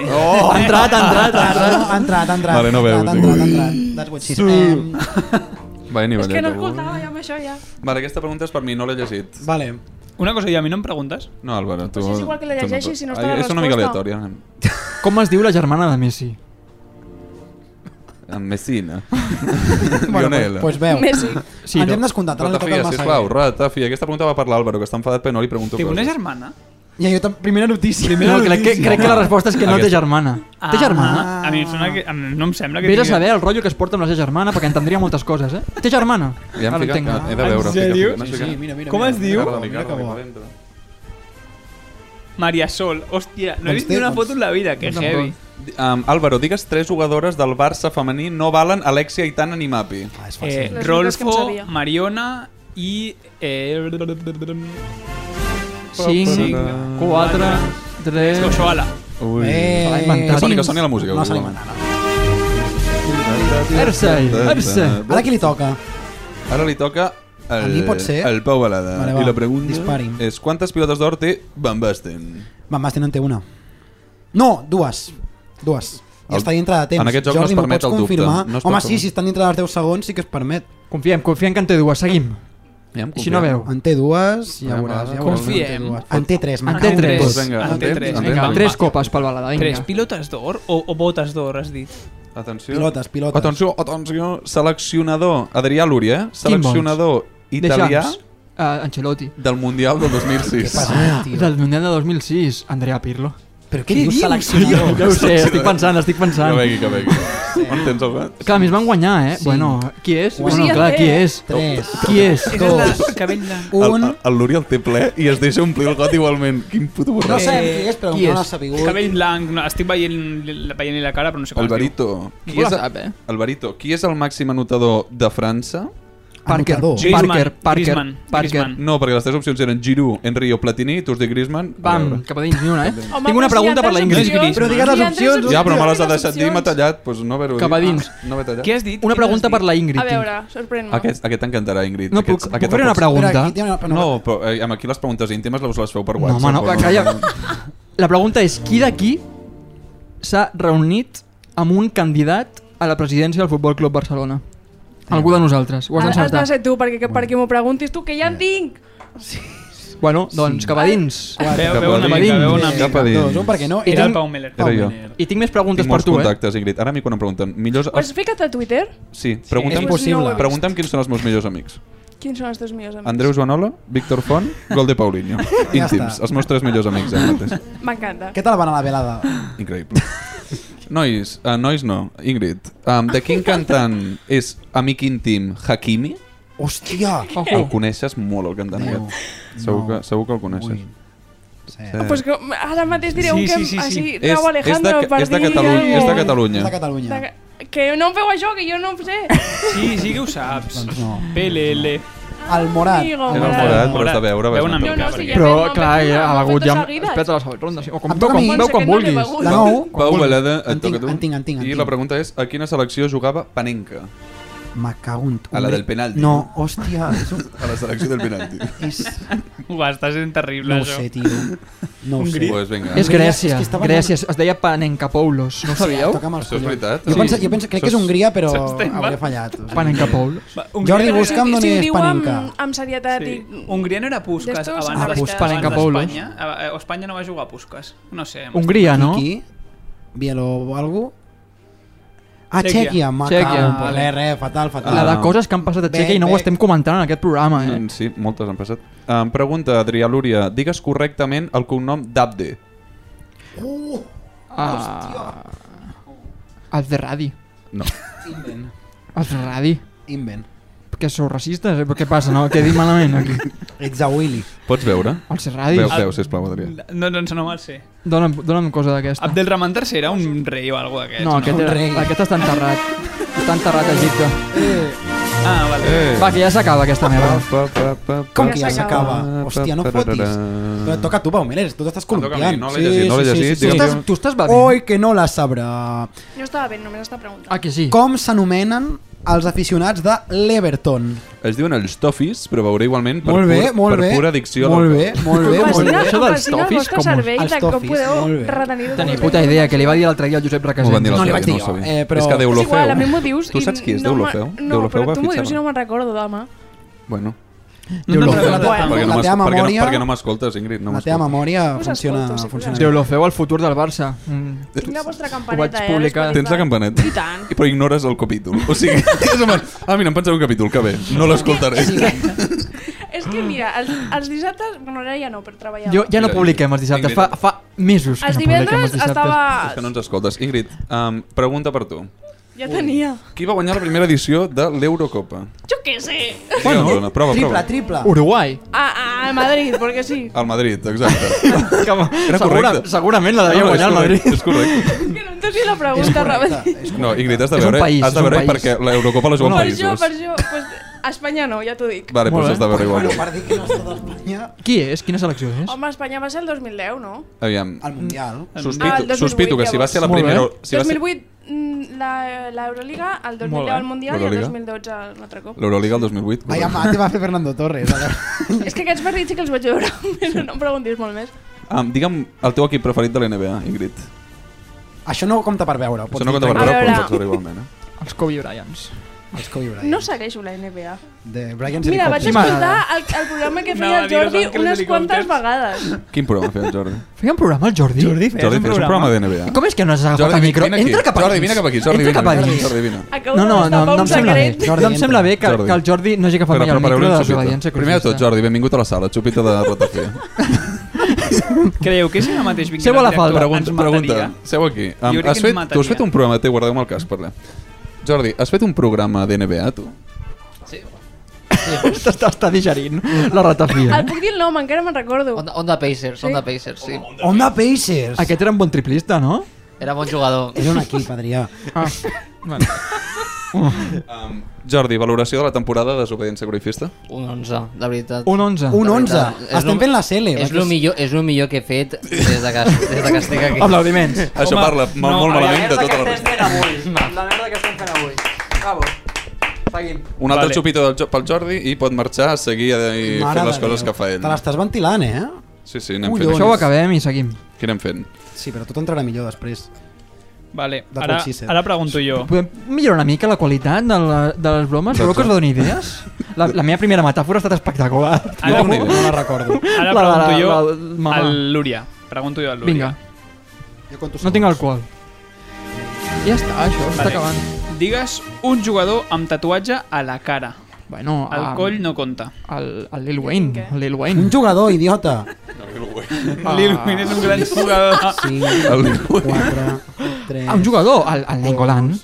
Oh! Ha entrat, ha entrat, ha entrat. Ha entrat, ha entrat. Vale, no veus, ha entrat, ha dic. entrat. That's what she said. Em, Va, ni És que no ballet, escoltava ja amb això ja. Vale, aquesta pregunta és per mi, no l'he llegit. Em, Vale. Una cosa, i a mi no em preguntes? No, Álvaro, tu... Pues és igual que la tu llegeixis, pots. si no Ah, està la És una mica resposta. aleatòria. Com es diu la germana de Messi? En Messina. Bueno, Lionel. pues, pues veu. Messi. Sí, Ens no. hem descomptat, ara li toca el Ratafia, Massa. sisplau, ratafia. Aquesta pregunta va per l'Àlvaro, que està enfadat, però no li pregunto Té una coses. germana? I jo tam- primera notícia. No, crec que, crec que la resposta és que no té Aquesta. germana. Té germana? Ah, a mi em sembla que... a mi No em sembla que... Vés a tingui- saber el rotllo que es porta amb la seva germana perquè entendria moltes coses, eh? Té germana? Ja em Ara ho fica, entenc. he de veure. En sèrio? Fica, fica, Sí, fica. mira, mira, Com mira, es diu? Ricardo, Mira Ricardo, que bo. Ricardo. Maria Sol. Hòstia, no he Doncs vist té- ni una doncs- foto en la vida, que doncs heavy. tampoc. Um, Álvaro, digues tres jugadores del Barça femení no valen Alexia, Aitana ni Mapi. Ah, és Eh, fàcil. Les úniques que em Rolfo, sabia. Mariona i... Eh... 5, 4, 3... Oshoala. Ui. Eh, l'ha inventat. Que soni, que soni la música, No que se l'ha volem. inventat. Erse, Erse. Ara qui li toca? Ara li toca el, A mi pot ser? el Pau Balada. Vale, va. I la pregunta Disparin. és quantes pilotes d'or té Van Basten? Van Basten en té una. No, dues. Dues. Ja El- està dintre de temps. en aquest joc no Jordi, es m'ho permet pots el dubte. confirmar? No es Home, pot sí, com- si estan dintre dels 10 segons sí que es permet. Confiem, confiem que en té dues, seguim. Ja em Si no veu. En té dues, ja Vinga, veuràs. va, Ja veuràs. confiem. En té dues. En té tres, En me'n té cago en tres. tot. Doncs vinga, En té anem, tres, anem, vinga. anem. Tres copes pel balada, Tres vinga. pilotes d'or o, o botes d'or, has dit? Atenció. Pilotes, pilotes. Atenció, atenció. Seleccionador. Adrià Lúria, eh? seleccionador italià Deixa'ns. Uh, Ancelotti. Ah, del Mundial del 2006. Passa, tio. Del Mundial de 2006, Andrea Pirlo. Però què dius Jo, seleccionador? ho sé, estic pensant, estic Que pensant. vegui, que vegui. On tens el gat? Clar, a mi es van guanyar, eh? Sí. Bueno, qui és? Bueno, Bueno, clar, sí, qui eh? és? Tres, Qui és? Esa Dos. és la cabell blanc. El, un... el Lúria el té ple i es deixa omplir el got igualment. Quin puto No borrat. sé Eh, qui és, però qui no és? l'ha sabut. Cabell blanc, no, estic veient, veient la cara, però no sé com es diu. Alvarito. Qui la és, sap, eh? Alvarito, qui és el màxim anotador de França? Parker, Anotador. Parker, Parker, Griezmann, Parker, Griezmann, Parker. Griezmann. No, perquè les tres opcions eren Giroud, Henry o Platini, tu has dit Griezmann. A Bam, veure. cap a dins, ni una, eh? Home, Tinc però una si pregunta hi ha per la tres Ingrid. opcions- Però digues les si hi ha tres opcions. Ja, però me les ha digues deixat dir i m'ha tallat, doncs no haver-ho dit. Cap a dins. Ah, no m'he tallat. Què has dit? Una Què pregunta has per dit? la Ingrid. A veure, sorprèn-me. Aquest, aquest t'encantarà, Ingrid. No, puc, Aquests- puc la fer una pots- pregunta? No, però eh, amb aquí les preguntes íntimes les les feu per No, WhatsApp. home, no, però calla. La pregunta és, qui d'aquí s'ha reunit amb un candidat a la presidència del Futbol Club Barcelona? Algú de nosaltres, ho has Ah, Ara has de d'encertar. Eh. ser tu, perquè, perquè m'ho preguntis tu, que ja en tinc. Bueno, doncs cap a dins. Ah. Veu, Cap veu una a mica, veu una dins. mica. Cap a dins. Dos, un perquè no. I Era el tinc- Pau Meller. Era jo. I tinc més preguntes Tinc per molts tu, eh? contactes, Ingrid. Ara a mi quan em pregunten... Millors... Oh. Ho has ficat a Twitter? Sí, pregunta'm, És possible. No ho he vist. pregunta'm quins són els meus millors amics. Quins són els teus millors amics? Andreu Joanola, Víctor Font, Gol de Paulinho. Ja Íntims, està. els meus tres millors amics. Ara mateix. M'encanta. Què tal van a la velada? Increïble. Nois, uh, nois no, Ingrid. Um, de quin cantant és amic íntim Hakimi? Hòstia! El coneixes molt, el cantant aquest. Segur que, segur que el coneixes. Ui. Sí. Sí. Ah, Pues que ara mateix diré Sí, un que sí, sí, sí. així, És, Rau és, de, Alejandro, per és, de dir Catalunya, algo. és de És de Catalunya. Catalunya. De- Que no em feu això, que jo no ho sé. Sí, sí que ho saps. Doncs no. PLL. El Morat. Amigo, Era el Morat. Morat, però has de veure. Veu una No, vas anar mica. no, perquè- sí, ja Però, vam- vam clar, fer ja ha una hagut foto ja... Ah, seguida. Espera't a la següent ronda. Sí. O com, Em veu, toca a com, mi. veu com Pensa que no vulguis. l'he begut. La nou. Pau Balada, En et tinc, toca tu. en tinc, en tinc, en I tinc. la pregunta és, a quina selecció jugava Panenka? Me cago en tu. A la del penalti. No, hòstia, és un... A la selecció del penalti. És... Ua, està sent terrible, No ho això. sé, tio. No ho sé. pues vinga. És Grècia, És que estava- Grècia. Es deia Panencapoulos, no ho sabíeu? Toca'm els Això és collons. veritat? Jo, Sí. penso, jo penso, crec que és Això és- Hongria, però això és tema. hauria fallat. O sigui, Panencapoulos. Jordi, Però busca'm si- d'on si ho és diu Panenka. amb- amb serietat Sí. i... Hongria no era Puskas D'estos Ah, abans d'Espanya. Puskas. abans Panencapoulos. d'Espanya. Eh, O Espanya no va jugar a Puskas. No sé. Hongria, no? Qui? Bielo o algú? Ah, Txèquia. Txèquia, me Txèquia. cago. en- Vale. Res, res, fatal, fatal. La de Ah. coses que han passat a Bé, Txèquia i no ho bé. estem comentant en aquest programa, eh? Mm, Sí, moltes han passat. Em pregunta Adrià Lúria, digues correctament el cognom d'Abde. Uh, Ah, els de Radi. No. Invent. Els de Radi. Invent. Que sou racistes, eh? Però què passa, no? Què he dit malament aquí? Ets a Willy. Pots veure? Els de Veu, Radi. veu, Ah. sisplau, Adrià. No, doncs no me'l sé. Dóna'm, dóna'm cosa d'aquesta. Abdelrahman III era un rei o alguna d'aquests, No, no? aquest, Un era, rei. aquest està enterrat. Està enterrat a Egipte. Ah, vale. Eh. Va, que ja s'acaba aquesta merda. Pa, pa, pa, pa, Com que que ja ja s'acaba? s'acaba? Hòstia, no fotis. Però toca a tu, Pau Meller, tu t'estàs toca a mi, columpiant. no l'he llegit, no l'he llegit, Tu digue'm. estàs, Tu estàs bevint? Oi, que no la sabrà. Jo estava bé, només està preguntant. Ah, que sí? Com s'anomenen els aficionats de l'Everton? Es diuen els toffis, però veuré igualment per, Molt bé, pur, molt per bé. pura addicció. a Molt bé, l'alcohol. molt bé, Em molt fascina, bé. Això em dels fascina el tofis, vostre com- cervell els de com tofis, podeu molt bé. retenir Tenia documents. puta idea, que li va dir l'altre dia al Josep M'ho van dir Requesens. No, l'altre li vaig dia, dir jo, ho sabia. eh, però- És que Déu És igual, a mi m'ho l'ofeu. dius Tu i saps qui és? no Déu me- l'ofeu? No, però tu m'ho dius i no no me'n recordo, dama. Bueno, No te'n Déu-lo recordes feu. tant. perquè la no m'es- teva perquè no- memòria- perquè no m'escoltes, Ingrid. No La teva m'escoltes. memòria Us funciona, escolto, sí, funciona Déu bé. lo feu al futur del Barça. Mm. Tinc la vostra Ho campaneta, vaig eh? publicar. ara Tens la campaneta? I tant. I però ignores el capítol. O sigui, és en plan, ah, mira, em pensava un capítol, que bé, no l'escoltaré. És que mira, els, els dissabtes... Bueno, ara ja no, però treballava. Jo ja no Mira, publiquem els dissabtes, fa, Ingrid. fa mesos que Els no publiquem els divendres dissabtes. estava... És que no ens escoltes. Ingrid, um, pregunta per tu. Ja tenia. Qui va guanyar la primera edició de l'Eurocopa? Jo què sé. Bueno, prova, prova. Triple, triple. Uruguai. A, a Madrid, perquè sí. Al Madrid, exacte. Segura, correcte. segurament la devia No, no, guanyar el és Madrid. correcte, És correcte. És que no entenc Doncs la pregunta, Ravel. No, Ingrid, has de És un veure, país, has és de un veure país. perquè l'Eurocopa la juguen Per països. això, per això. Pues, a Espanya no, ja t'ho dic. Vale, doncs Molt bé. has de veure Bueno, igual. per dir que no està d'Espanya Qui és? Quina selecció és? Home, Espanya va ser el 2010, no? Aviam, al Mundial. Ah, sospito, el 2008, sospito que si va ser la llavors. primera... Molt Si va ser 2008 mm, la- l'Euroliga, el 2010 Molt bé. el Mundial i el L'Euroliga. 2012 un altre cop. l'Euroliga el 2008. Ai, correcte. ama, te va fer Fernando Torres. a veure. És que aquests partits sí que els vaig veure, però no em preguntis molt més. Um, digue'm el teu equip preferit de l'NBA, Ingrid. Això no compta per veure. ho pots Això no compta dir per A tu. veure, però veure. ho pots veure igualment. Eh? Els Kobe Bryants. Els Kobe Bryant. No segueixo la NBA. De Brian Mira, vaig Helicòpters. escoltar el, el programa que Anava feia a el dir Los Jordi Angeles unes quantes Helicòpters. vegades. Quin programa ha fet el Jordi? Feien programa el Jordi? Jordi, feies Jordi, fes un un programa. programa d'NBA. I com és que no has agafat Jordi, el micro? vine aquí. Entra cap a Jordi, dins. vine cap aquí. Jordi, Entra vine, cap a vine, dins. Jordi, vine. Acabo No, no, de no, destapar no em un sembla bé. secret. Jordi, no em sembla bé que, Jordi. que el Jordi no hagi agafat mai Espera, el micro prepareu-li de un desobediència. xupito. Primer de tot, cruzista. Jordi, benvingut a la sala. Xupita de ratafia. Creieu que si ara mateix vingués Seu a la el director falda, ens Pregunta, mataria? pregunta. Seu aquí. Um, Jo crec has que fet, ens tu has fet mataria. un programa, té, guardeu-me el cas, parlem. Jordi, has fet un programa d'NBA, tu? T'està està digerint la ratafia. Et puc dir el nom, encara me'n recordo. Onda, Onda Pacers, Onda Pacers, sí. Onda Pacers. Aquest era un bon triplista, no? Era bon jugador. És un equip, Adrià. Ah, bueno. Um, Jordi, valoració de la temporada de Desobediència Groifista? Un 11, de veritat. Un 11. Un De veritat. Doncs, 11. eh, És Estem lo- fent la cele. És el millor, és el millor que he fet des de que, des de que estic aquí. Aplaudiments. Això parla ma- no, molt a la malament de tota la resta. fent avui. La merda que estem fent avui. Bravo. Seguim. Un altre Vale. xupito del jo- pel Jordi i pot marxar a seguir eh, i fer les coses que fa ell. Te l'estàs ventilant, eh? Sí, sí, anem Collons. fent Això això. ho acabem i seguim. Què anem fent? Sí, però tot entrarà millor després. Vale, That's ara, what she said. ara pregunto jo. Podem millorar una mica la qualitat de, la, de les bromes? Voleu que us la doni idees? La, la meva primera metàfora ha estat espectacular. Ara, Ara La- la- pregunto jo la- la- mamà. al Lúria. Pregunto jo al Lúria. Vinga. No tinc alcohol. Ja està, això, està acabant. Digues un jugador amb tatuatge a la cara. Bueno, el am- coll no compta. El, el Lil Wayne. El Lil Wayne. Un jugador, idiota. Ah. Lil Wayne és un gran jugador. Sí, El Lil Wayne. Ah, un jugador, el, el Nengolan.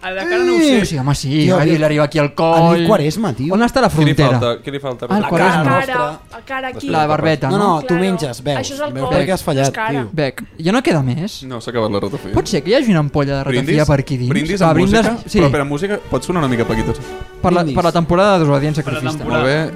A la cara no ho sé. Sí, home, sí. Tio, li arriba aquí al coll. El Quaresma, tio. On està la Què li frontera? falta? Què li falta? Ah, el Quaresma. Cara, a cara aquí. La barbeta, No, no? no, tu menges, veus. Això és el veus coll, per què has fallat, és cara. tio. Bec, ja no queda més? No, s'ha acabat la ratafia. Pot ser que hi hagi una ampolla de ratafia per aquí dins? Brindis Va, amb brindes- música? Sí, Però per a música pot sonar una mica paquitos. per, la, per la temporada de Desobedient Sacrifista. Molt bé.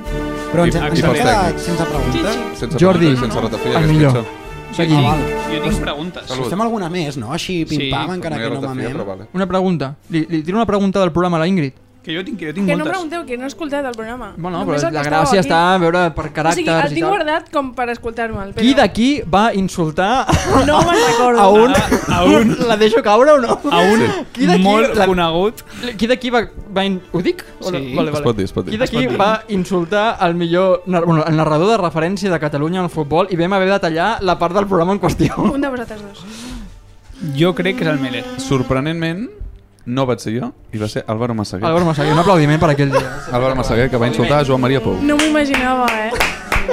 Però I- ens, i ens pels hem quedat tècnics. sense preguntes. Sense Jordi, preguntes, sense ratafia, el que és millor. pitjor. Jo, Ah, val. jo tinc preguntes. Si fem alguna més, no? Així, pim-pam, Sí, No encara hi que ha no ratafia, mamem. però vale. Una pregunta. Li, li tiro una pregunta del programa a la Ingrid. Que jo tinc, que jo tinc Que no moltes. pregunteu, que no he escoltat el programa. Bueno, Només però el que la estàveu gràcia aquí. està a veure per O sigui, caràcters el tinc i tal. guardat com per escoltar-me'l. Però... Ah, Qui d'aquí va insultar No me'n recordo. a un... Ah, A un, La deixo caure o no? a un Qui d'aquí- molt la- conegut. Qui d'aquí va... va in... Ho dic? O no? Sí. Vale, Es pot vale. dir, es pot Qui dir. d'aquí va insultar el millor... nar- Bueno, el narrador de referència de Catalunya en el futbol i vam haver de tallar la part del programa en qüestió. Un de vosaltres dos. Jo crec que és el Meller. Sorprenentment, no vaig ser jo, i va ser Álvaro Massaguer. Álvaro Massaguer, un aplaudiment per aquell dia. Álvaro Massaguer, que va insultar a Joan Maria Pou. No m'ho imaginava, eh?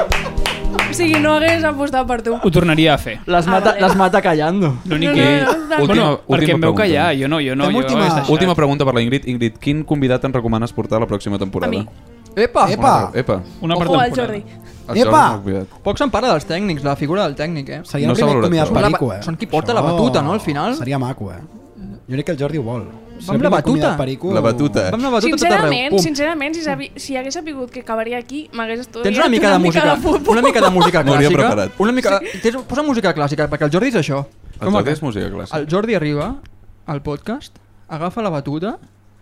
O sigui, no hagués apostat per tu. Ho tornaria a fer. Les mata, Ah, vale. les mata callando. L'únic No, que... no, no, no. bueno, Última- perquè última em veu pregunta. callar, jo no, jo no. Fem jo última- hagués deixat. Última pregunta per la Ingrid. Ingrid, quin convidat et recomanes portar a la pròxima temporada? A mi. Epa! Epa! Epa. Una per O al temporada. Jordi. El Jordi Epa! m'ha convidat. Poc se'n parla dels tècnics, la figura del tècnic, eh? Seria No el s'ha primer valorat, convidat però. perico, eh? Són qui porta la batuta, no, al final? Seria maco, eh? Jo crec que el Jordi ho vol. Vam Seria el la primer batuta. convidat Perico... La batuta. Vam anar a batuta tot arreu. Sincerament, Pum. sincerament, si, sabi, si hagués sabut que acabaria aquí, m'hagués estudiat Tens una mica de música, futbol. una mica de música M'ho hauria clàssica. preparat. Una mica, tens, posa música clàssica, perquè el Jordi és això. El Jordi és que- música clàssica. el Jordi arriba al podcast, agafa la batuta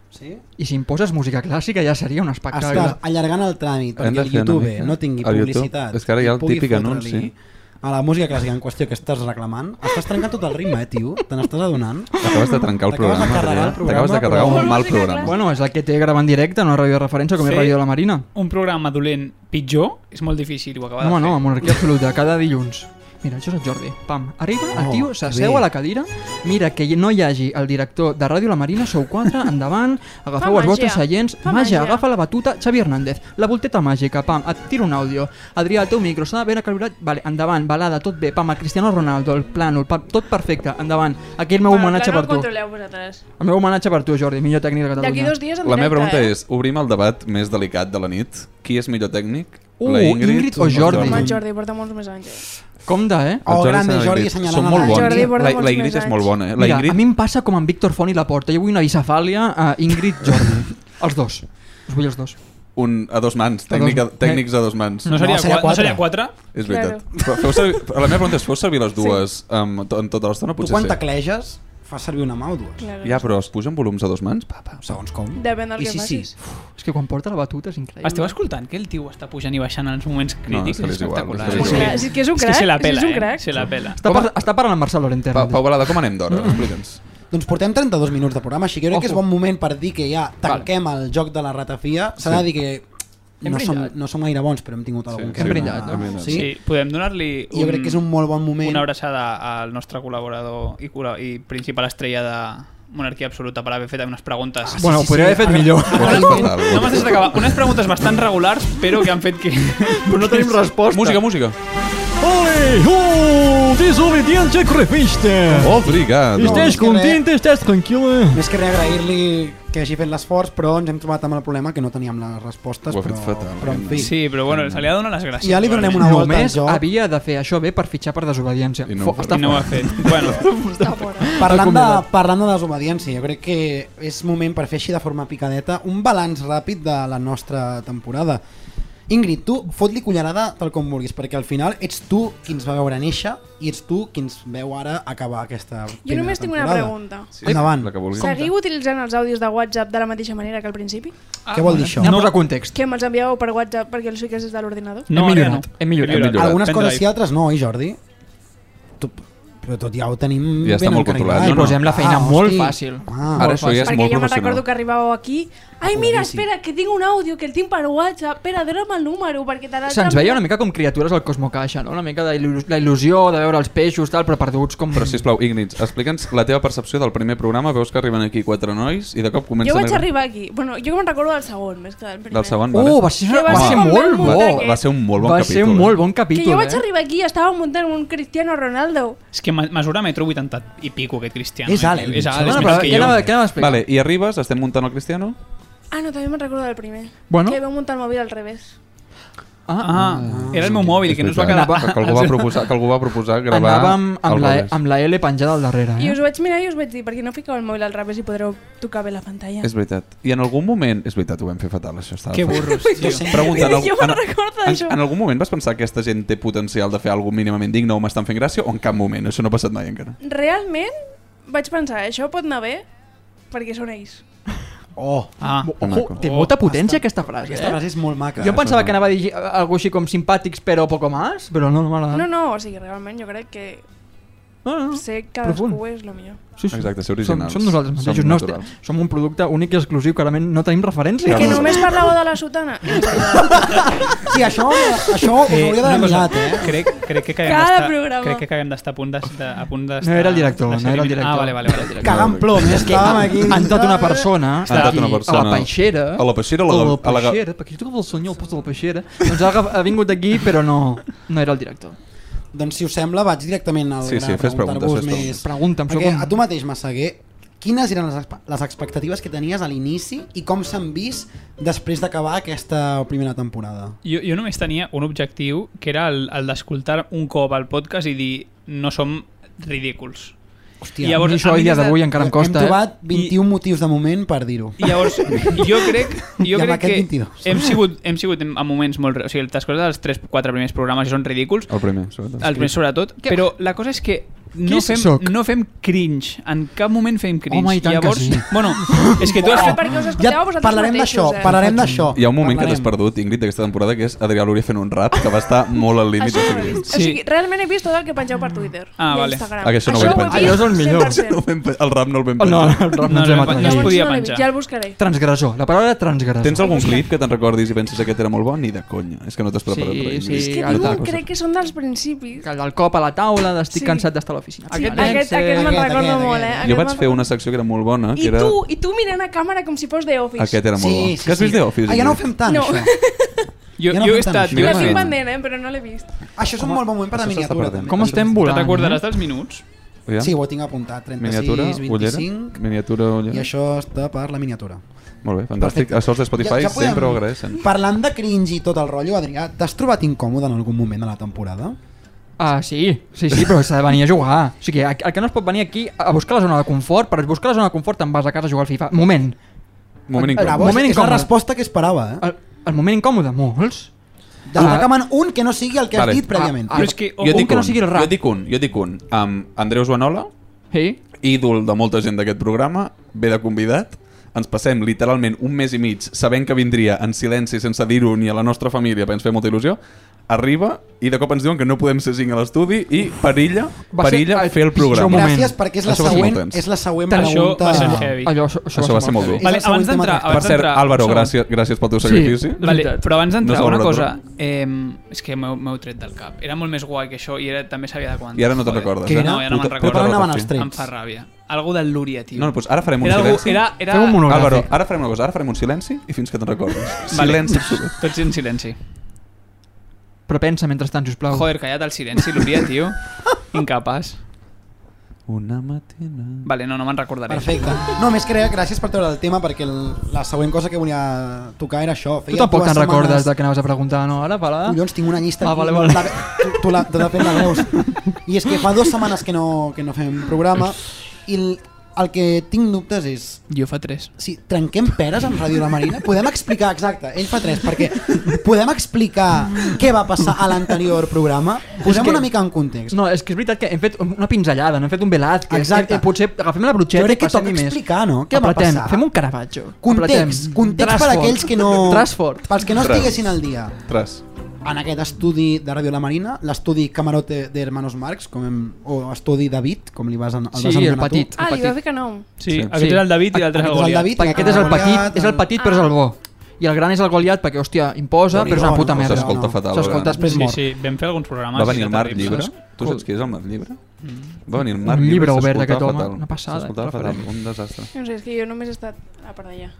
Sí? i si em poses música clàssica ja seria un espectacle. Estàs allargant el tràmit Hem de perquè el fer una YouTube mica. no tingui El YouTube. publicitat. És que ara hi ha i el pugui típic fotre-li anunci. A la música clàssica en qüestió que estàs reclamant, estàs trencant tot el ritme, eh, tio? Te n'estàs adonant? T'acabes de trencar el T'acabes de programa. carregar el Adrià. T'acabes de programa, carregar però- un mal Música programa. Bueno, és el que té gravar en directe, no ràdio de referència, com és Sí. ràdio de la Marina. Un programa dolent pitjor és molt difícil ho acabar No, home, no, de fer. amb monarquia absoluta, cada dilluns. Mira, això és el Jordi. Pam, arriba, el Oh, tio que s'asseu bé. a la cadira, mira que no hi hagi el director de Ràdio La Marina, sou quatre, endavant, agafeu Fa els vostres màgia. seients, Fa màgia, màgia. agafa la batuta, Xavi Hernández, la volteta màgica, pam, et tiro un àudio, Adrià, el teu micro, s'ha de ben calibrat, vale, endavant, balada, tot bé, pam, el Cristiano Ronaldo, el plànol, pam, tot perfecte, endavant, aquí el meu homenatge per tu. Controleu vosaltres. El meu homenatge per tu, Jordi, millor tècnic de D'aquí Catalunya. dos dies en La meva directe, pregunta eh? és, obrim el debat més delicat de la nit. Qui és millor tècnic? Uh, la Ingrid o Jordi? Home, Mm. el Jordi porta molts més anys. Eh? Compte, eh? Oh, grande, s'ha Jordi dit. assenyalant Són a molt la bons. Jordi porta la, molts la Ingrid més és molt anys. bona, eh? La Mira, Ingrid... a mi em passa com amb Víctor Font i Laporta. Jo vull una bicefàlia a Ingrid Jordi. els dos. Us vull els dos. Un, a dos mans, tècnic, a, tècnics a dos mans. No seria, No, seria qua- no seria quatre? És veritat. Però Feu servir, però la meva pregunta és, feu servir les dues um, en tota l'estona? Tu Potser quan sí. tecleges, fas servir una mà o dues. Claro. Ja, però es pugen volums a dos mans? Pa, pa. Segons com. Depèn del I que sí, facis. Sí. És que quan porta la batuta és increïble. Esteu escoltant que el tio està pujant i baixant en els moments és crítics? que li és igual, espectacular. és que li És un crac, és que és un crac. que se la és pela, un eh? crac. Se la pela. Està, par està parlant amb Marcelo Lentero. eh, Pa, Pau Balada, com anem d'hora? Mm. Explica'ns. Doncs portem 32 minuts de programa, així que jo crec que és Ojo. bon moment per dir que ja tanquem el joc de la ratafia. S'ha de dir que Hem no som, brillat. no som gaire bons, però hem tingut algun que hem altre. brillat, hem brillat. Sí? Sí, podem donar-li Jo crec que és un molt bon moment. una abraçada al nostre col·laborador i, col·la- i principal estrella de Monarquia Absoluta per haver fet unes preguntes. Ah, Bueno, Sí, sí, podria sí. haver fet Ara- millor. Ho has fet fatal. No m'has deixat acabar. Unes preguntes bastant regulars, però que han fet que... Però no tenim resposta. Música, música. Ole! Uh! Desobediència correfista! Obrigado. Estàs contenta? Estàs tranquil·la? Més que res agrair-li que hagi fet l'esforç, però ens hem trobat amb el problema que no teníem les respostes. Ho ha fet però, fatal, però en eh? fi. Sí, però bueno, se li ha de donar les gràcies. Ja li donem igualment. Una volta Només al joc. havia de fer això bé per fitxar per desobediència. I no Fo- ho fa. està I no ho fora. ha fet. Bueno, Està fora. Parlant de, Recomanat. parlant de desobediència, jo crec que és moment per fer així de forma picadeta un balanç ràpid de la nostra temporada. Ingrid, tu fot-li cullerada tal com vulguis, perquè al final ets tu qui ens va veure néixer i ets tu qui ens veu ara acabar aquesta Jo primera només tinc una temporada. pregunta. Sí, Endavant. La que vulguis. Seguiu utilitzant els àudios de WhatsApp de la mateixa manera que al principi? Ah, Què vol dir això? Anem a posar context. Que me'ls enviàveu per WhatsApp perquè els fiques des de l'ordinador? No, Hem ara millorat, no. hem millorat. Hem millorat. Algunes Pendrive. coses sí, altres no, oi Jordi? Tu, però Però tot ja ho tenim Ja està ben molt controlat, encarrilat. no, no. I posem la feina molt hosti. fàcil. Ah, Ara això ja és Perquè molt jo me'n professional. recordo que arribàveu aquí Ai, mira, espera, que tinc un àudio que el tinc per WhatsApp Espera, dona'm el número perquè te l'haig Se'ns veia una enviat". mica com criatures al Cosmocaixa, no? Una mica de il·lu- la il·lusió de veure els peixos, tal, però perduts com... Però, sisplau, Ignitz, explica'ns la teva percepció del primer programa. Veus que arriben aquí quatre nois i de cop comencen... Jo vaig a- arribar aquí Bueno, jo que me'n recordo del segon més que del primer Del segon, Oh, vale. va ser, Que va va ser ser com molt vam bo. muntar Va ser un molt bon va capítol. ser un eh? molt bon Que capítol, jo vaig eh? arribar aquí i estava muntant un Cristiano Ronaldo És que ma- mesura metro 80 i pico aquest Cristiano. eh? És alt, És alt, em és Bueno, sembla, més però alt que què jo. anava, què anava a explicar? Vale, i arribes, estem muntant el Cristiano. Ah, no, també me'n recordo del primer Bueno. Que vau muntar el mòbil al revés Ah, ah. Ah, era el meu mòbil, que no es va quedar... Anava- Que, algú va proposar, que algú va proposar gravar... Anàvem amb al la, E- revés. amb la L penjada al darrere, I us eh? ho vaig mirar i us vaig dir, perquè no fiqueu el mòbil al revés i podreu tocar bé la pantalla. És veritat. I en algun moment... És veritat, ho vam fer fatal, això. Estava Que fatal. burros, tio. Pregunta, en, Jo me'n recordo en, d'això. en algun moment vas pensar que aquesta gent té potencial de fer alguna mínimament digne o m'estan fent gràcia o en cap moment? Això no ha passat mai encara. Realment vaig pensar, això pot anar bé perquè són ells. Ah, Oh. Oh, Ojo, té molta potència aquesta frase, Aquesta eh? frase és molt maca. Jo em pensava que anava a dir algo així com simpàtics però poco más, però no, no Ah. m'ha agradat. No, no, o sigui, realment jo crec que no, no, no. ser cadascú Profund. és el millor. Sí, sí. Exacte, ser som, originals. som nosaltres Som mateixos, som, no, naturals. estem- som un producte únic i exclusiu, clarament no tenim referència. Ja, Que no. només parlàveu de la sotana. Eh, Sí, això, això us Eh, una hauria d'haver cosa, mirat, eh? Crec, crec que acabem Cada d'estar programa. crec que acabem d'estar a punt d'es- de, a punt d'estar... No era el director, de ser no era eliminat. el director. Ah, vale, vale, vale. Cagant plom, eh? estàvem aquí... Ha entrat tota una persona, Ha entrat una aquí, persona. a la peixera, A la peixera, a la- a la a la- peixera perquè jo tocava el senyor al post de la peixera, doncs ha, agaf- ha vingut aquí però no, no era el director. Doncs si us sembla vaig directament al Sí, sí, gra, fes preguntar-vos preguntes, fes més. preguntes. Pregunta'm, Perquè sóc un- a tu mateix, Massaguer, quines eren les, expe- les expectatives que tenies a l'inici i com s'han vist després d'acabar aquesta primera temporada? Jo, jo només tenia un objectiu que era el, el d'escoltar un cop al podcast i dir no som ridículs. Hòstia, I llavors, I això a mi a dia des de- d'avui encara em costa, hem eh? trobat 21 motius de moment per dir-ho. I llavors, jo crec, I jo amb crec aquest que 22. hem sigut, hem sigut en, en moments molt... re- O sigui, les coses dels 3-4 primers programes ja són ridículs, El primer, sobretot. els més sobretot, però la cosa és que no Qui fem, sóc? no fem cringe, en cap moment fem cringe. Home, i tant que llavors, sí. Bueno, és que tu has Però fet... perquè us Ja escoltàveu vosaltres parlarem mateixos, d'això, eh? parlarem d'això. Hi ha un moment que t'has Parlarem. perdut, Ingrid, d'aquesta temporada, que és Adrià Lúria fent un rap que va estar molt al límit. Això de ho he cringe. vist. Sí. O sigui, realment he vist tot el que pengeu per Twitter Ah, i a vale. Instagram. Ah, que això no ho ho vaig he vist penjar. Ah, jo és el millor. 100%. No ho vam pe- el rap no el vam Oh, no, pensar. el rap no No, ens hem no, atrevit. no es Llavors podia l'he penjar. vist, Ja el buscaré. Transgressor, la paraula transgressor. Tens algun clip que te'n recordis i penses aquest era molt bon? Ni de conya. És que no t'has preparat Sí, res. sí. És que Alta diu, cosa. crec que són dels principis. Que del cop a la taula, d'estic Sí. sí. cansat d'estar a l'oficina. Sí, aquest, Alex, aquest, eh, aquest me'n aquest, recordo aquest, molt, eh? aquest. Jo Aquest vaig me'n fer una secció que era molt Ah, bona, I que era... tu, I tu mirant a càmera com si fos The Office. Aquest era molt bo. Que has vist The Office? Ah, ja no ho Ingrid? fem tant, No. això. Jo, Ja no jo he fem tant estat... això. Jo La Mira, he tinc estat... pendent, eh? Però no l'he vist. Això és un molt bon moment per a Això la s'està miniatura, perdent. també. Com estem Te volant, t'acordaràs eh? dels minuts? Ja? Sí, ho tinc apuntat, 36, Miniatura, 25... ullera, miniatura, I ullera. això està per la miniatura. Molt bé, fantàstic. Això els de Spotify sempre ho agradeixen. Parlant de cringe i tot el rotllo, Adrià, t'has trobat incòmode en algun moment de la temporada? Ah, sí, sí, sí, però s'ha de venir a jugar. O sigui, el el que no es pot venir aquí a buscar la zona de confort, per buscar la zona de confort te'n vas a casa a jugar al FIFA. Moment. Moment Bravo. incòmode. Moment és, és la incòmode. resposta que esperava, eh? El, el moment incòmode, molts. De trobar que man un que no sigui el que Ah. Vale. has dit prèviament. Ah, Però és que... un que no sigui el rap. Jo dic un, jo dic un. Um, Andreu Joanola, Sí? ídol de molta gent d'aquest programa, ve de convidat, ens passem literalment un mes i mig sabent que vindria en silenci sense dir-ho ni a la nostra família, perquè ens feia molta il·lusió, arriba i de cop ens diuen que no podem ser cinc a l'estudi i perilla, Va ser perilla el Ah, fer el pitjor programa. moment. Gràcies perquè és la Això va ser següent, molt tens. és la següent Això Això pregunta. va ser heavy. Allò, això, això, Això va ser molt dur. heavy. Vale, És el abans següent d'entrar... tema. abans Per cert, d'entrar- Álvaro, un segon. gràcies, gràcies pel teu sacrifici. La Vale, veritat. però abans No d'entrar, s'ha una valorat cosa. Eh, és que m'heu m'heu tret del cap. Era molt més guai que això i era, també s'havia de quan. I ara no te'n recordes, Què eh? No, ja no me'n Puta- puta Però recordo. per on Recordo, anaven els sí. Em fa trets? ràbia. Algú del Lúria, tio. No, no, doncs ara farem un era algú, silenci. era, era... Fem un monogràfic. Álvaro, ara farem una cosa, ara farem un silenci i fins que te'n recordes. Vale. Silenci absolut. Tots en silenci. Però pensa mentrestant, sisplau. Joder, callat el silenci, Lúria, tio. Incapaç. Una matina... Vale, no, no me'n recordaré. Perfecte. No, més que res, gràcies per treure el tema perquè el, la següent cosa que volia tocar era això. Tu tampoc dues te'n recordes setmanes- del que anaves a preguntar, no? Ara, pala... Collons, tinc una llista Ah, aquí. vale, vale. La, tu, tu la, tu de fet la veus. I és que fa dues setmanes que no, que no fem programa i el, el que tinc dubtes és Jo fa tres. si trenquem peres amb Ràdio La Marina, podem explicar, exacte, ell fa tres, perquè podem explicar què va passar a l'anterior programa? Posem que- una mica en context. No, és que és veritat que hem fet una pinzellada, no hem fet un Velázquez. Exacte. Eh, eh, Potser agafem la Jo brutxeta i crec que toca passem-hi més. explicar, no? Què va Apretem, passar? fem un Caravaggio. context, Apretem. context per Trasfort. aquells que no... Trasfort. Pels que no Tras. estiguessin al dia. Tres. en aquest estudi de Ràdio La Marina, l'estudi Camarote de Hermanos Marx, com hem, o estudi David, com li vas, en, el Sí, vas anomenar el petit. Tu. Ah, li va ficar nom. Sí, aquest és el David i l'altre és el Aquest és el Goliat. David, Perquè aquest és el Goliat, petit, és el petit però és el bo. I el gran és el Goliat perquè, hòstia, imposa, però és una puta no, eh? merda. s'escolta fatal, S'escolta gran. després sí, mort. sí, vam fer alguns programes. Va venir i el era Marc terrible. Llibre? Tu saps qui és el Marc Llibre? Mm. Va venir el Un Marc llibre Llibre, i obert d'aquest s'escoltava home, fatal. una passada, eh, S'escoltava fatal, referent. un desastre. No sé, és que jo només he estat a part d'allà.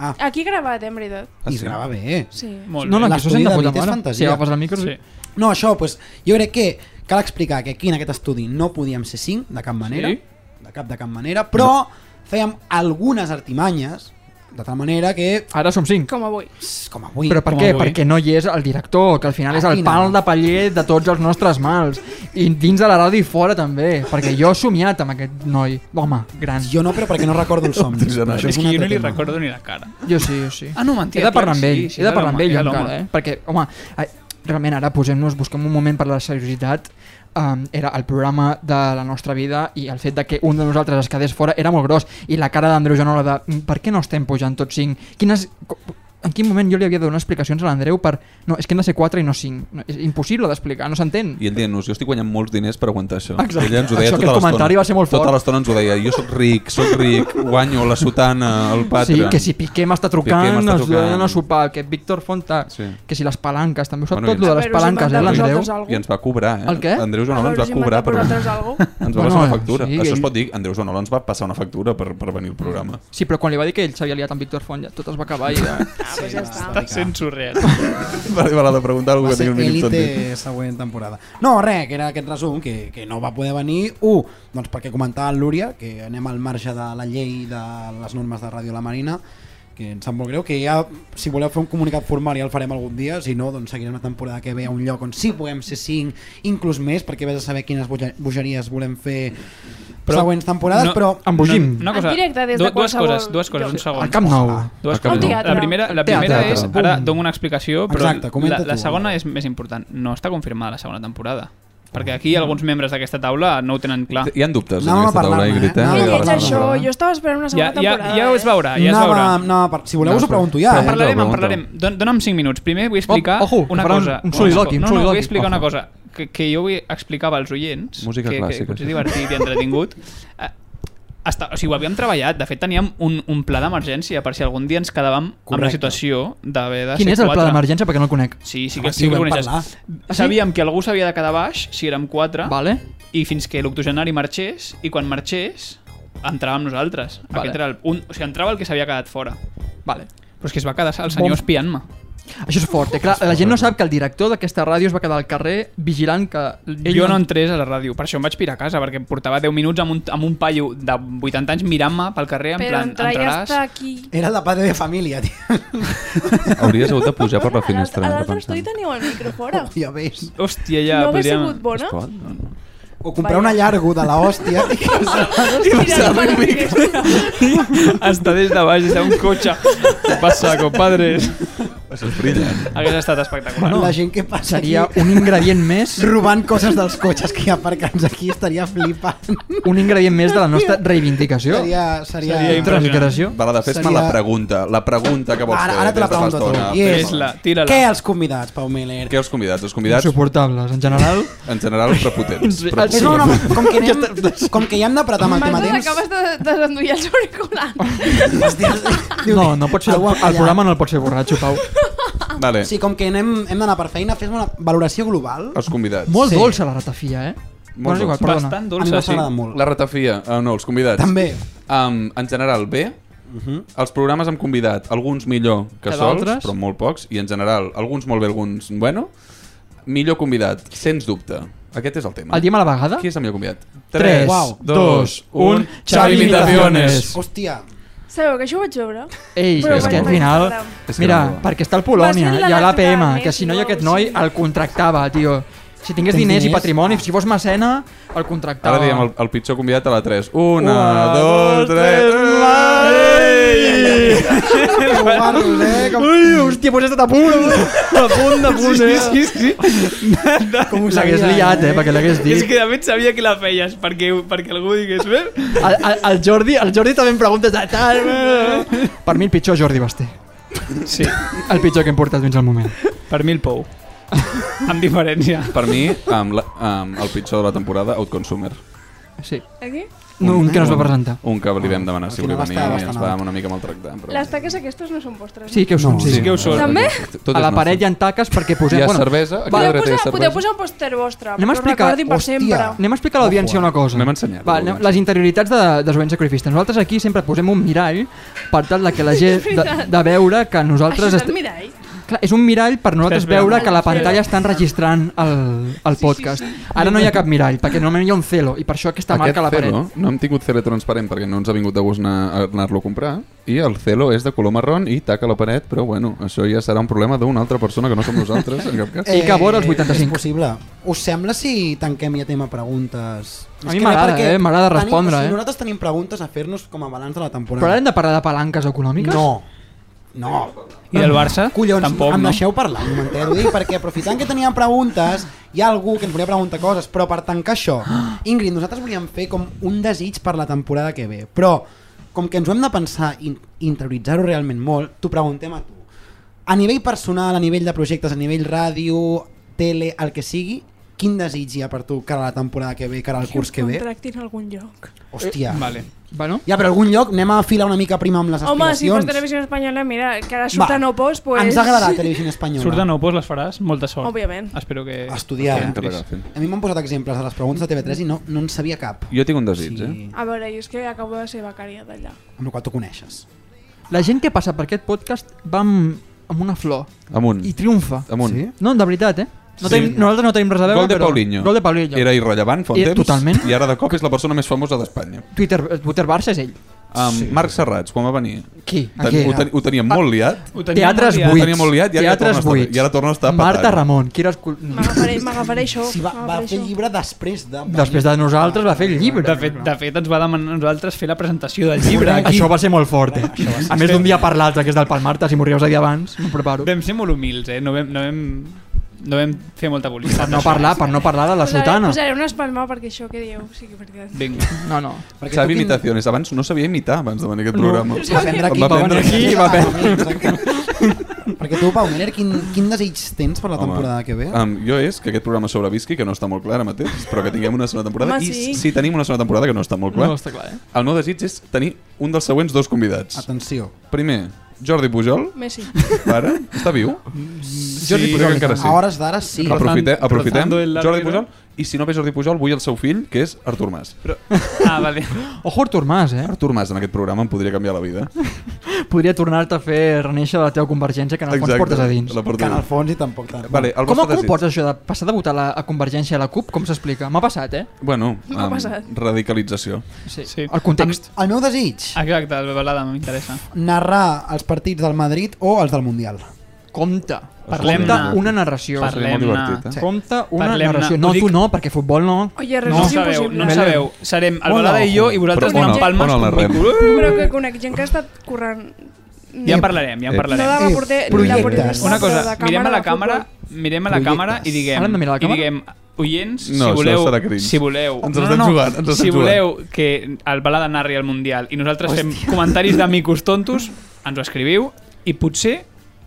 Ah, Aquí he gravat, eh, en veritat. Ah, i es sí? grava bé. Sí. Molt No, no, bé. que això sent de puta L'estudi de David és mare. fantasia. Si agafes el micro... Sí. Sí. No, això, pues, jo crec que cal explicar que aquí en aquest estudi no podíem ser cinc, de cap manera, Sí. sí. de cap de cap manera, però fèiem algunes artimanyes, de tal manera que, Ara som cinc. Com avui. com avui... Però per Com què? avui. Perquè no hi és el director, que al final és el Aquí no. pal de paller de tots els nostres mals. I dins de la ràdio i fora també, perquè jo he somiat amb aquest noi, home, gran. Jo, Jo no, però perquè no recordo el somni. Tens anar. Això És un que jo altre no li tema. recordo ni la cara. jo sí, jo sí. Ah, no, mentida, He de clar, parlar amb sí, ell, sí, he de era parlar amb l'home, ell era l'home. encara, eh? Perquè, home, ai, realment ara posem-nos, busquem un moment per la seriositat. Um, era el programa de la nostra vida i el fet de que un de nosaltres es quedés fora era molt gros i la cara d'Andreu Janola de "Mm, per què no estem pujant tots cinc? Quines... co- En quin moment jo li havia de donar explicacions a l'Andreu per... No, és que hem de ser 4 i no 5. No, és impossible d'explicar, no s'entén. I ell dient-nos, jo estic guanyant molts diners per aguantar això. Exacte. Ella ens ho deia Això, tota aquest comentari va ser molt fort. Tota l'estona ens ho deia, jo sóc ric, sóc ric, guanyo la sotana, el Sí, Patreon. que si Piqué Piqué m'està trucant, m'està ens trucant. donen a sopar, que Víctor Fonta, Sí. que si les palanques, també ho sap Bueno, i tot, lo ens- de les palanques, eh, l'Andreu. I ens va cobrar, eh? El què? Andreu Joanola ens va cobrar. Per... vosaltres algo? Ens va Bueno, passar una factura. sí, Això ell- es pot dir, Andreu Joanola ens va passar una factura per, per venir al programa. Sí, però quan li va dir que ell s'havia liat amb Víctor Font, ja tot es va acabar i... Ah, pues ja està. Està sent surreal. per arribar a la pregunta algú va que ser tingui un mínim sentit. Elite següent temporada. No, res, que era aquest resum, que, que no va poder venir, u, doncs perquè comentava el Lúria, que anem al marge de la llei de les normes de Ràdio La Marina, que ens sap molt greu, que ja, si voleu fer un comunicat formal ja el farem algun dia, si no, doncs seguirem la temporada que ve a un lloc on sí puguem ser cinc, inclús més, perquè vés a saber quines boja- bogeries volem fer Però però, següents temporades, no- no, però... Embogim. Una cosa, En directe, des de du- dues qualsevol coses, dues coses, lloc. un segon. Al Camp Nou. Dues Al Camp coses. Nou. La primera, la primera Teatre. Mm. és, ara dono una explicació, però Exacte, comenta la, la tu. segona és més important. No està confirmada la segona temporada. Perquè aquí alguns membres d'aquesta taula no ho tenen clar. Hi ha dubtes en Anàvem a aquesta taula, parlar-ne, Ingrid, eh? eh? Ah, He Anàvem Anàvem a a llegit parlar-ne. això, parlar-ne. jo estava esperant una Ja, segona ja, temporada. ja us eh? veurà, ja es Anava- veurà. anava per- si voleu No, us ho pregunto En ja, pregunta, eh? parlarem, en pregunta. parlarem. Don, dona'm 5 minuts. Primer vull explicar Oh, ojo, que una farà un- cosa. un soliloti, un no, no, soliloti. vull explicar una Ojo. cosa que, que jo vull explicar als oients. Música que, clàssica, Que potser sí. és divertit i entretingut. Eh, Està, o sigui, ho havíem treballat. De fet, teníem un, un pla d'emergència per si algun dia ens quedàvem amb la Correcte. situació d'haver de Quin ser és el pla quatre. d'emergència? Perquè no el conec. Sí, sí Home, que, Ah, sí, sí, que ho ho vam coneixes. parlar. Ah, Sabíem que algú s'havia de quedar baix, si érem quatre, Vale? i fins que l'octogenari marxés, i quan marxés, entràvem nosaltres. Vale. Aquest era el, un, o sigui, entrava el que s'havia quedat fora. Vale. Però és que es va quedar el senyor Bon. espiant-me. Això és fort. Eh? Clar, la gent no sap que el director d'aquesta ràdio es va quedar al carrer vigilant que... Ell Eh, Jo no entrés a la ràdio, per això em vaig pirar a casa, perquè em portava 10 minuts amb un, amb un paio de 80 anys mirant-me pel carrer, en Però plan, entrar ja entraràs... està aquí. Era la padre de família, tio. Hauries hagut de pujar per la A finestra. eh, l'altre estudi teniu el micro fora. Ja veus. Hòstia, ja, No hagués podríem... sigut bona? O comprar una llargo de la hòstia i que Està des de baix, des d'un cotxe. Què passa, compadres? Això és brillant. Hagués estat espectacular. la gent que passa Seria aquí un ingredient més robant coses dels cotxes que hi ha aparcats aquí estaria flipant. un ingredient més de la nostra reivindicació. Seria, seria... Seria impressionant. Transgressió. Vale, de fes-me Seria- la pregunta. La pregunta que vols Ara, fer ara des te la de fa pregunto a tu. estona. I és, Fes-la, tira-la. què els convidats, Pau Miller? Què els convidats? Els convidats, Insuportables, en general. en general, prepotents. Sí. Prepotents. És una, com, que anem, com que ja hem de apretar amb el tema M'has temps, acabes de desendollar els auriculars. No, no pot ser... Algú ha El fallat. programa no el pot ser borratxo, Pau. Vale, sí, com que anem, hem d'anar per feina, fes una valoració global. els convidats. Molt Sí. dolça la ratafia, eh? Bueno, és igual, dolça. perdona. Bastant A mi dolça, no sí. s'agrada molt. La ratafia, uh, no, els convidats. També. Um, en general, bé. Uh -huh. Els programes amb convidat, alguns millor que, Mhm. Que sols, d'altres. però molt pocs, i en general, alguns molt bé, alguns bueno. Millor convidat, sens dubte. Aquest és el tema. El diem a la vegada? Qui és el millor convidat? Tres, Uau. dos, un, Xavi Imitaciones. Hòstia, Sabeu que això ho vaig veure? Ei, Però és que bueno, al final... És que Mira, no va. perquè està al Va Polònia ser la i a l'APM, natural, que si no hi ha més, aquest no, noi, sí. el contractava, tio. Si tingués Tens diners i diners? patrimoni, si fos mecena, el contractava. Ara diem el, el pitjor convidat a la 3. Una, Ah. Una, dos, dos, tres... Ei! que guarros, eh? Com, Ui, hòstia, pues he estat a punt! A punt, a punt, eh? Sí, sí, sí. com ho L'hagués sabien, liat, eh? Perquè l'hagués És dit. que David sabia que la feies, perquè, perquè algú digués... "Bé, El, el, el, Jordi, el Jordi també em "Ah, pregunta... "Ta- ta- ta". Per mi el pitjor Jordi Basté. Sí, El pitjor que hem portat fins al moment. per mi el Pou. Amb diferència. Per mi, amb la, amb el pitjor de la temporada, Outconsumer. Sí. Aquí? No, un que no es va presentar. Eh, Un que li vam demanar si Al final volia venir estava i bastant ens vam una mica maltractar. Però... Les taques aquestes no són vostres. Sí que ho són. No, sí que ho són. També? Tot a és la nostre. paret hi ha taques perquè posem... Hi ha cervesa, aquí va, darrere podeu té posar- Podeu posar un pòster vostre, Anem però a explicar, recordin per sempre. anem a explicar a l'audiència una eh. cosa. M'hem ensenyat. Va, anem, les interioritats de, de jovent sacrifista. Nosaltres aquí sempre posem un mirall per tal de que la gent de, de veure que nosaltres... Això és este- el mirall. Clar, és un mirall per nosaltres Estàs veient veure el que la cel. pantalla estan registrant el, el podcast. Ara no hi ha cap mirall, perquè normalment hi ha un celo, i per això aquesta marca a la paret. celo, no hem tingut celo transparent perquè no ens ha vingut de gust anar- anar-lo a comprar i el celo és de color marrón i taca la paret, però bueno, això ja serà un problema d'una altra persona que no som nosaltres, en cap cas. I que vora els 85. Eh, És possible. Us sembla si tanquem ja tema preguntes? A mi m'agrada, eh? M'agrada respondre, tenim, eh? Nosaltres tenim preguntes a fer-nos com a balanç de la temporada. Però ara hem de parar de palanques econòmiques? No. No. I del Barça? Collons, Tampoc, em no? deixeu parlar un momentet, ho dic, perquè aprofitant que teníem preguntes, hi ha algú que ens volia preguntar coses, però per tancar això, Ah. Ingrid, nosaltres volíem fer com un desig per la temporada que ve, però com que ens ho hem de pensar i interioritzar-ho realment molt, t'ho preguntem a tu. A nivell personal, a nivell de projectes, a nivell ràdio, tele, el que sigui, quin desig hi ha per tu cara a la temporada que ve, cara al curs que ve? Contractin a algun lloc. Hòstia. Vale. Bueno, Ja, però a algun lloc anem a filar una mica prima amb les Eh, Home, si fos aspiracions. Televisió Espanyola, mira, que ara surt Va, a no post, pues... Ens ha agradat Televisió Espanyola. Surt de nou, doncs les faràs. Molta sort. Òbviament. Espero que... Estudiar. que Entris. entris. A mi m'han posat exemples de les preguntes de TV3 i no, no en sabia cap. Jo tinc un desig, sí. eh? Sí. A veure, jo és que acabo de ser becària d'allà. Amb la qual tu coneixes. La gent que passa per aquest podcast va amb, amb una flor Amunt. i triomfa. Amunt. Sí? No, de veritat, eh? No Sí. tenim, nosaltres no tenim res a veure, Gol de però... Paulinho. Gol de Paulinho. Era irrellevant fa un Eh, temps totalment. i ara de cop és la persona més famosa d'Espanya. Twitter, Twitter Barça és ell. Um, sí. Marc Serrats, quan va venir? Qui? Ten, Aquí. ho, ten, ho tenia molt liat. Ho teníem Teatres aliat. buits. Tenia molt liat i ara ja Teatres torna a estar- buits. i ara torna a estar Marta petant. Ramon, qui era el... cul- M'agafaré m'agafaré això. Sí, va, va m'agafaré fer això. llibre després de... Després de nosaltres va fer el llibre. De fet, de fet, ens va demanar a nosaltres fer la presentació del llibre aquí. Això va ser molt fort, eh? A més d'un dia per l'altre, que és del Palmarta, si morries a dia abans, no preparo. Vam ser molt humils, eh? No vam, no vam, no vam fer molta publicitat. No parlar, per no parlar de la Posaré- sotana. Posaré una espalma perquè això que dieu sí que és veritat. Vinga. No, no. Perquè tu Xavi quin- Imitaciones. Abans no sabia imitar abans de venir a aquest programa. Va prendre aquí. Va prendre aquí i va prendre aquí. Perquè tu, Pau Miller, quin, quin desig tens per la temporada que ve? Um, jo és que aquest programa sobrevisqui, que no està molt clar ara mateix, però que tinguem una segona temporada. Home, I sí. si tenim una segona temporada que no està molt clar, No està clar, eh? el meu desig és tenir un dels següents dos convidats. Atenció. Primer, Jordi Pujol, Messi. ara, està viu? Jordi Pujol encara sí. Mm, A hores d'ara sí. Però- Aprofite, Rozando- aprofitem, rozando el árbitro. Jordi Pujol, i si no ve Jordi Pujol, vull el seu fill, que és Artur Mas. Però Ah, vale. Ojo Artur Mas, eh? Artur Mas en aquest programa em podria canviar la vida. Podria tornar-te a fer reneixer la teva convergència, que en el fons portes a dins. La porto Que a en el dins. fons i tampoc tant. Vale, el Com, vostre com desig. pots això de passar de votar la, a Convergència a la CUP? Com s'explica? M'ha passat, eh? Bueno, M'ha em, passat. radicalització. Sí. Sí. El context. El meu desig, Exacte, el Balada m'interessa. narrar els partits del Madrid o els del Mundial. Compte. Parlem-ne. Compte Ah. una narració. Parlem- Parlem-ne. divertit, eh? Compte una Parlem-ne. narració. Ho No, dic- tu no, perquè futbol no. Oye, res No és sabeu, impossible. no sabeu. Serem el Hola, Balada i jo i vosaltres Però anem on a el- Palmes on el com narrem? micro. Però que conec gent que ha estat corrent... Ja en parlarem, ja en Eh, No parlarem. de Eh, la porter... projectes. la porteria, Una però cosa, de mirem a la de càmera, futbol. mirem a la càmera i diguem, Ara hem de mirar la i càmera? diguem oients, No, si això voleu, serà cringe. si voleu, Ens estem jugant, ens estem si jugant. voleu que el Balada narri al Mundial i nosaltres fem comentaris d'amicos tontos, ens ho escriviu i potser,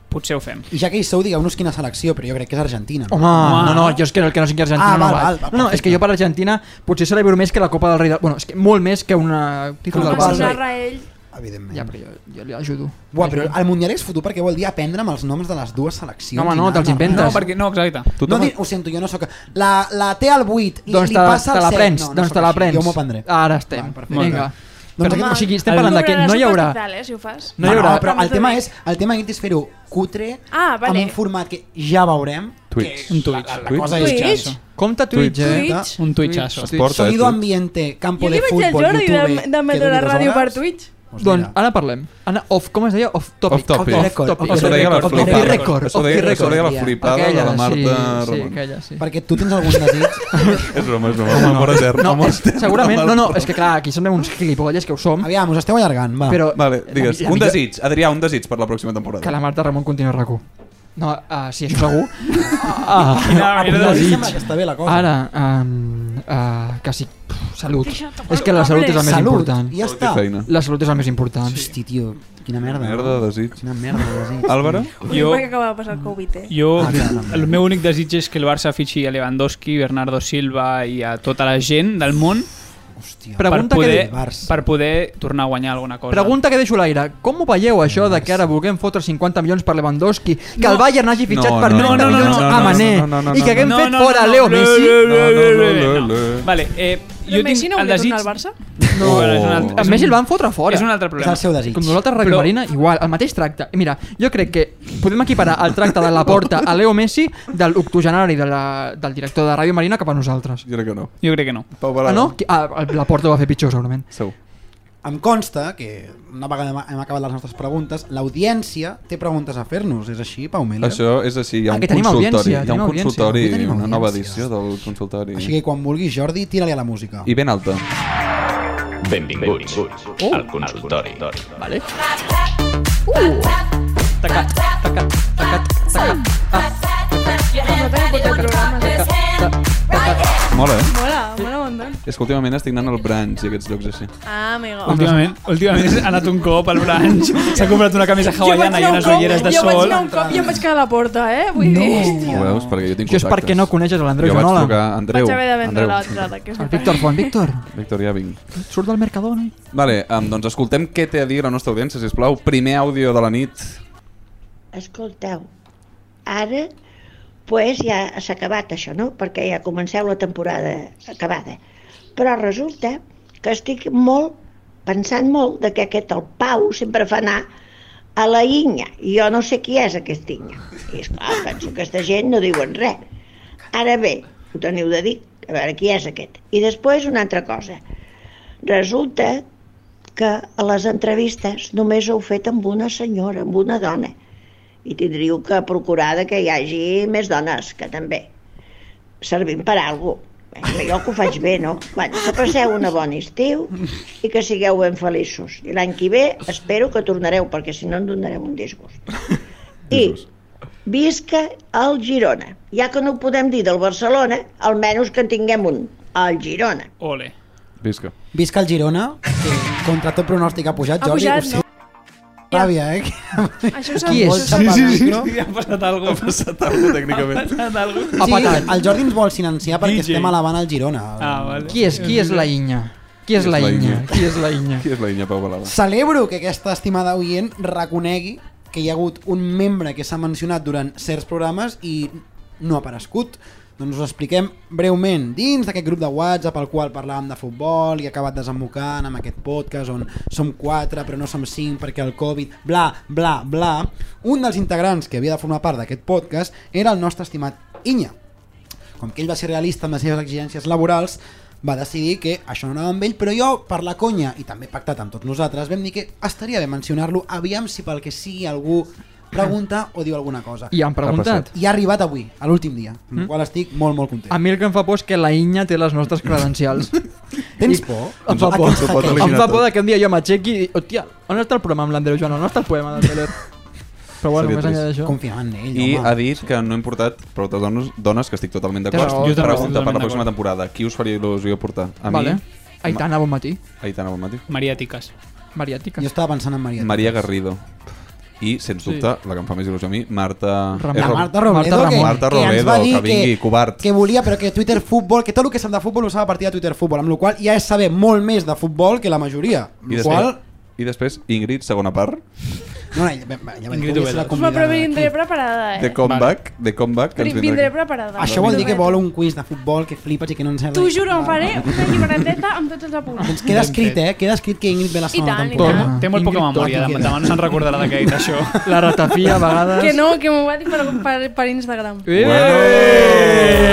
potser ho fem. I ja que hi sou, digueu-nos quina selecció, però jo crec que és Argentina. Home, no, no, jo és que el que no sigui Argentina Ah, no val, val. val, val, no, no, és perfecte. que jo per Argentina potser celebro més que la Copa del Rei del... Bueno, és que molt més que una títol Home, del si Barça. narra ell, Evidentment. Ja, però jo, jo li ajudo. Buah, però el Mundial és fotut perquè vol dir aprendre'm els noms de les dues seleccions. Home, no, I anar te'ls inventes. No, Entes. perquè no, exacte. No, di- ho sento, jo no sóc... La, la té al 8, li, Doncs li te, passa te al la 7. prens, no, no doncs sóc te la així, prens. Jo m'ho prendré. Ara estem. Val, perfecte. Vinga. Doncs Però, aquest- o sigui, estem el- parlant de que cobraràs no hi haurà... superficial, eh, si ho fas. No hi haurà- No, ah, però el També. tema és, el tema és fer-ho cutre, Ah, vale. amb un format que ja veurem. Twitch. Un tuit. La, la Twitch. cosa Twitch? és... Compte Twitch, eh? Twitch? Twitch? Un tuitxasso. Es porta, eh, Sonido Twitch. ambiente, campo Jo de li vaig dir al futbol, Jordi de, YouTube... de metre la ràdio per Twitch. Doncs ara parlem. Anna, off, com es deia? Off Off topic. topic. Off Off topic. topic. Això deia la Off flipada. topic record. Això Off deia, topic això deia la record. flipada de la Marta sí, sí, Roman. aquella, sí. Perquè tu tens algun desig... És broma, és broma. No, no, no. No, és, segurament, no, no, és que clar, aquí som uns gilipolles que ho som, Aviam, us esteu allargant, va. però... eh, Vale, digues, la- la un millor- desig, Adrià, un desig per la pròxima temporada. Que la Marta Ramon continuï a rac No, uh, sí, això segur. Ah, ah, Quina manera de Em dir. sembla que està bé la cosa. Ara, um, uh, que si, pff, Salut. Deixa tocar És que la salut és la més Salut, important. ja Salut i està. feina. La salut és la més important. Sí. Hosti, tio, quina merda. Merda de desig. Quina merda de desig. Álvaro? Jo- Jo... que acaba de passar el Covid, eh? Jo, Ah, clar, també. el meu únic desig és que el Barça fitxi a Lewandowski, Bernardo Silva i a tota la gent del món Hòstia. Pregunta per, que poder, diu Barça. per poder tornar a guanyar alguna cosa. Pregunta que deixo a l'aire. Com ho veieu, això de que ara vulguem fotre 50 milions per Lewandowski, que No. el Bayern hagi fitxat No, per no, no, 30 no, milions no, a no, Mané no, no, no, i que haguem No, fet no, fora no, Leo no, Messi? no, no, No, no, no, no, no, no. Vale, eh, jo Jo Messi tinc no el volia desig... tornar al Barça? No, bueno, és una alt- A és Messi un- el van fotre fora. És un altre És problema. el seu desig. Oh. Com nosaltres, Radio Però- Marina, igual, el mateix tracte. I Mira, jo crec que podem equiparar el tracte de la porta a Leo Messi del octogenari de la, del director de Radio Marina cap a nosaltres. Jo crec que no. Jo crec que no. Pau Ah, Parada. no? Qui- Ah, la porta ho va fer pitjor, segurament. Segur. Em consta que una vegada hem- hem acabat les nostres preguntes, l'audiència té preguntes a fer-nos, és així, Pau Miller? Això és així, hi ha Ah, un que tenim consultori. audiència, Hi ha tenim un audiència. consultori, Avui tenim una nova audiència. edició del consultori. Així que quan vulguis, Jordi, tira-li a la música. I ben alta. Benvinguts al consultori. Oh. Vale. Uh! Tacat, tacat, tacat, tacat. Mola, eh? Mola, mola un montón. És que últimament estic anant al branch i aquests llocs així. Ah, amigo. Últimament, últimament ha anat un cop al branch, s'ha comprat una camisa hawaiana i unes ulleres de jo vaig sol. anar un cop i em vaig quedar a la porta, eh? Vull no. dir... Ho veus? Perquè jo tinc Això és contactes. perquè no coneixes a l'Andreu Jo vaig Joanola. trucar a Andreu. Vaig haver de vendre Andreu. l'altra, que és Ah, El Víctor Font, Víctor, Víctor, ja vinc. surt del ¿eh? Mercadona. Vale, um, doncs escoltem què té a dir la nostra audiència, sisplau. Primer àudio de la nit. Escolteu, ara pues, ja s'ha acabat això, no? Perquè ja comenceu la temporada acabada. Però resulta que estic molt, pensant molt de que aquest, el Pau, sempre fa anar a la Inya. I jo no sé qui és aquest Inya. I esclar, penso que aquesta gent no diuen res. Ara bé, ho teniu de dir, a veure qui és aquest. I després una altra cosa. Resulta que a les entrevistes només heu fet amb una senyora, amb una dona i tindríeu que procurar de que hi hagi més dones, que també servim per a alguna cosa. Jo que ho faig bé, no? Bueno, que passeu un bon estiu i que sigueu ben feliços. I l'any que ve espero que tornareu, perquè si no em donareu un disgust. I visca el Girona. Ja que no ho podem dir del Barcelona, almenys que en tinguem un, el Girona. Ole. Visca. Visca el Girona, que contra tot pronòstic ha pujat, Ha Jordi. pujat, ho sé. Ràbia, eh? Això és Qui el... és? Sí, sí, sí. Ha passat alguna cosa. Passat algo, tècnicament. Ha passat alguna cosa. Ha Sí, patat. el Jordi ens vol silenciar perquè DJ. estem alabant el Girona. Ah, vale. Qui és, qui és la Inya? Qui és la Inya? Qui és la Inya? Qui és la Inya Pau Balada? Celebro que aquesta estimada oient reconegui que hi ha hagut un membre que s'ha mencionat durant certs programes i no ha aparegut. Doncs us expliquem breument dins d'aquest grup de WhatsApp al qual parlàvem de futbol i ha acabat desembocant amb aquest podcast on som quatre però no som cinc perquè el Covid, bla, bla, bla. Un dels integrants que havia de formar part d'aquest podcast era el nostre estimat Inya, com que ell va ser realista amb les seves exigències laborals, va decidir que això no anava amb ell, però jo, per la conya, i també pactat amb tots nosaltres, vam dir que estaria bé mencionar-lo, aviam si pel que sigui algú pregunta o diu alguna cosa. I han preguntat. I ha arribat avui, a l'últim dia, amb el qual estic molt, molt Mm. A content. mi el que em fa por és que la Inya té les nostres credencials. Tens I- por? Em fa A por. que ens hackei? Em fa por de que un dia jo m'aixequi i... Hòstia, on està el programa amb l'Andreu Joan? On està el poema del Teler? Però bueno, Seria més enllà trist. d'això... Confiem en ell, I home. ha dit que no hem portat prou de dones, dones que estic totalment Té d'acord. raó. també Jo estic Pregunta per totalment la pròxima d'acord. temporada. Qui us faria il·lusió portar? A Vale. mi, Aitana, bon matí. Aitana Bonmatí. Maria Tiques. Mariàtica. Jo estava pensant en Maria. Maria Garrido. I, sens dubte, la que em fa més il·lusió a mi, Marta... Ramon. Eh, La Ro- Marta Robledo, Marta que, Ramon. Marta que ens Robledo, va dir que vingui, que, covard. que volia, però que Twitter Futbol, que tot el que sap de futbol ho sap a partir de Twitter Futbol, amb la qual cosa ja és saber molt més de futbol que la majoria. Amb I la després, qual I després, Ingrid, segona part, No, no, ja, ja, ja Ingrid podria ser la Ubeda. Home, però convidada vindré d'aquí. preparada, eh? de comeback, de comeback, que ens Vindré, vindrà vindré aquí. preparada. Això vol dir que Prometo. vol un quiz de futbol que flipes i que no ens T'ho juro, em faré una llibreteta amb tots els apunts. Doncs queda escrit, eh? Queda escrit que Ingrid ve la segona tant, i Té, temporada. tant. té molt poca Ingrid memòria, Torra. demà, demà no se'n recordarà de què ha dit això. La ratafia, a vegades... Que no, que m'ho va dir per, per, per Instagram. Eh!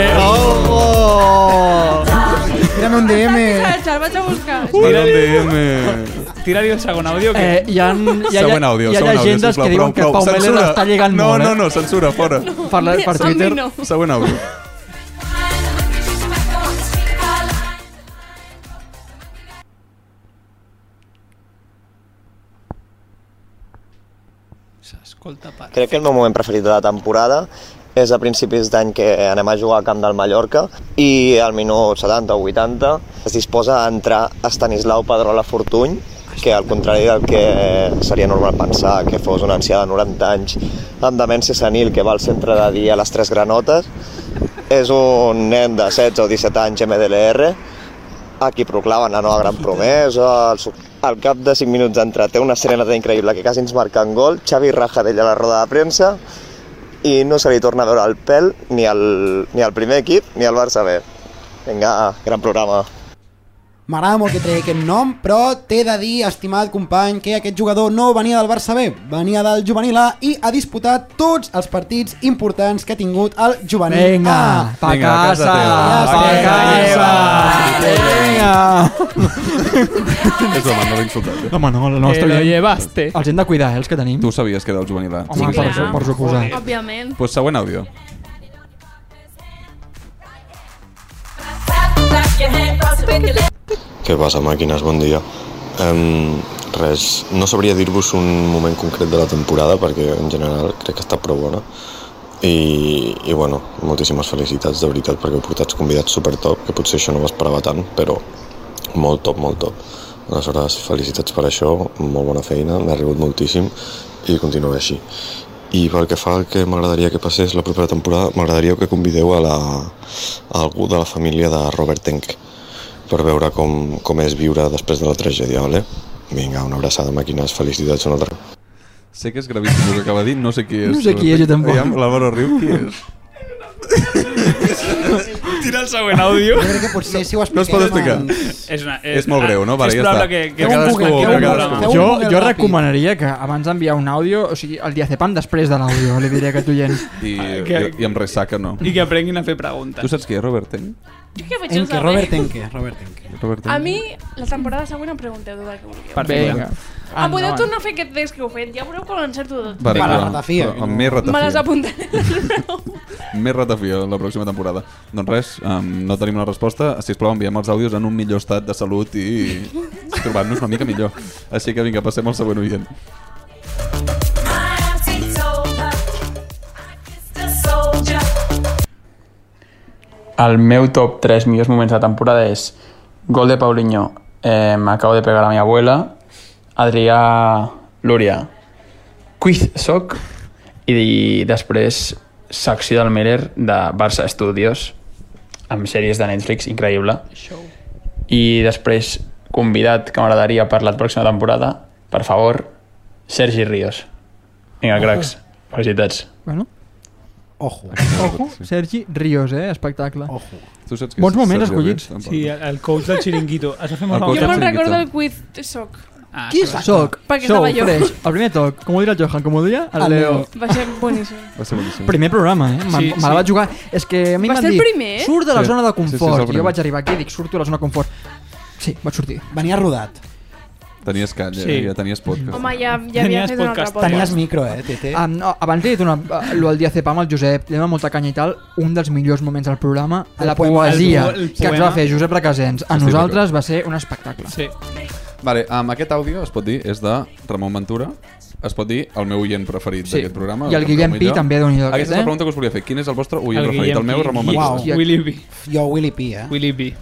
Tira'm un Està DM. missatge, el vaig a buscar. Mira un DM. Tira-li el segon àudio que... Eh, hi ha, hi ha, hi Següent ha, àudio, hi ha següent àudio, llegendes sisplau. que diuen que Pau Meller Censura. està lligant no, molt, eh? No, no, censura, fora. No. Per, la, per Som Twitter... dinou. Següent àudio. S'escolta part. Crec que el meu moment preferit de la temporada És a principis d'any que anem a jugar al camp del Mallorca i al minut 70 o 80 es disposa a entrar Estanislau Pedrola Fortuny, que al contrari del que seria normal pensar que fos un ancià de 90 anys amb demència senil que va al centre de dia a les Tres Granotes, és un nen de 16 o 17 anys MDLR a qui proclamen la nova gran promesa. El, su- al cap de 5 minuts d'entrar té una serenata increïble que quasi ens marca en gol. Xavi raja d'ell a la roda de premsa i no se li torna a veure el pèl ni al, ni al primer equip ni al Barça B. Vinga, gran programa. M'agrada molt que tregui aquest nom, però t'he de dir, estimat company, que aquest jugador no venia del Barça B, venia del juvenil A i ha disputat tots els partits importants que ha tingut el juvenil Vinga, A. pa Vinga, a casa casa, teva. Ja pa sé. És la Manol insultat. eh? No, home, no, la Te nostra... lo llevaste. Els hem de cuidar, eh, els que tenim. Tu sabies que era el juvenil eh? A. Home, Sí, per- clar. per suposar. Òbviament. Pues següent àudio. Què passa, màquines? Bon dia. Um, res, no sabria dir-vos un moment concret de la temporada perquè en general crec que està prou bona i, i bueno, moltíssimes felicitats de veritat perquè heu portat convidats super top que potser això no m'esperava tant però molt top, molt top aleshores felicitats per això, molt bona feina m'ha rigut moltíssim i continueu així i pel que fa al que m'agradaria que passés la propera temporada, m'agradaria que convideu a, la, a algú de la família de Robert Tenk per veure com, com és viure després de la tragèdia, vale? Vinga, una abraçada, màquines, felicitats una altra. Sé que és gravíssim el que acaba de dir, no sé qui és. No sé qui és, jo tampoc. Aviam, L'Àlvaro Riu, qui és? Tira el següent àudio. Jo crec que potser si ho No es pot expliquem explicar. en- És, una, és, molt greu, no? Vale, és ja probable està. que, que Feu un cadascú... Google, que feu un cadascú. Google. Jo, Google jo ràpid. recomanaria que abans d'enviar un àudio, o sigui, el diazepam després de l'àudio, li diré a aquest oient. I, que- i, i amb ressaca no. I que aprenguin a fer preguntes. Tu saps qui és Robert Tenk? Jo què vaig Enke, saber? Robert Enke, Robert Enke. Robert Tenk. A mi, la temporada següent em pregunteu tot el que vulgueu. Perfecte. Vinga. Ah, Em podeu tornar a fer aquest text que heu fet? Ja veureu que l'encerto tot. Vale, Per la però- ratafia. però Amb més ratafia. Me les apuntaré. Més ratafia la pròxima temporada. Doncs res, um, no tenim la resposta. Sisplau, enviem els àudios en un millor estat de salut i trobant-nos una mica millor. Així que vinga, passem al següent oient. El meu top 3 millors moments de temporada és gol de Paulinho, eh, m'acabo de pegar a la meva abuela, Adrià Lúria, quiz soc, i després secció del Merer de Barça Studios, amb sèries de Netflix, increïble. I després, convidat que m'agradaria per la pròxima temporada, per favor, Sergi Ríos. Vinga, cracs, felicitats. Bueno. Ojo. Ojo, Sergi Ríos, eh? Espectacle. Ojo. Tu saps Bons moments escollits. Sí, el coach del Chiringuito. Es va fer molt El coach Jo del me'n Chiringuito. recordo el quiz soc. Ah, Qui soc? Perquè Sou, estava jo. fresh. El primer toc, com ho dirà el Johan, com ho diria el, El Leo. Va ser boníssim. Va ser boníssim. Primer programa, eh? Me, Sí, sí, me la sí. vaig jugar. És que a mi Va m'han ser el dit, primer? surt de la Sí. zona de Sí, sí, és el confort. Sí, sí, primer. jo vaig arribar aquí i dic, surto de la zona de confort. Sí, vaig sortir. Venia rodat. Tenies calla, Sí. sí. ja tenies podcast. Home, ja, ja havia fet un altre podcast. micro, eh, Tete? Um, no, abans he dit una... eh, Lo del diazepam al Josep, li dona molta canya i tal, un dels millors moments del programa, El la poema. poesia El po- el que ens va poema. fer Josep Requesens. A Estic nosaltres va ser un espectacle. Sí. Vale, amb aquest àudio es pot dir és de Ramon Ventura, es pot dir el meu oient preferit Sí. d'aquest programa. I el del Guillem Ramon Villa. Pi també, Déu-n'hi-do, aquest, Aquesta és eh? la pregunta que us volia fer. Quin és el vostre oient El preferit? Guillem El meu Pi. Ramon Ventura. Wow. Willy B. Jo, Willy P, eh? Willy B.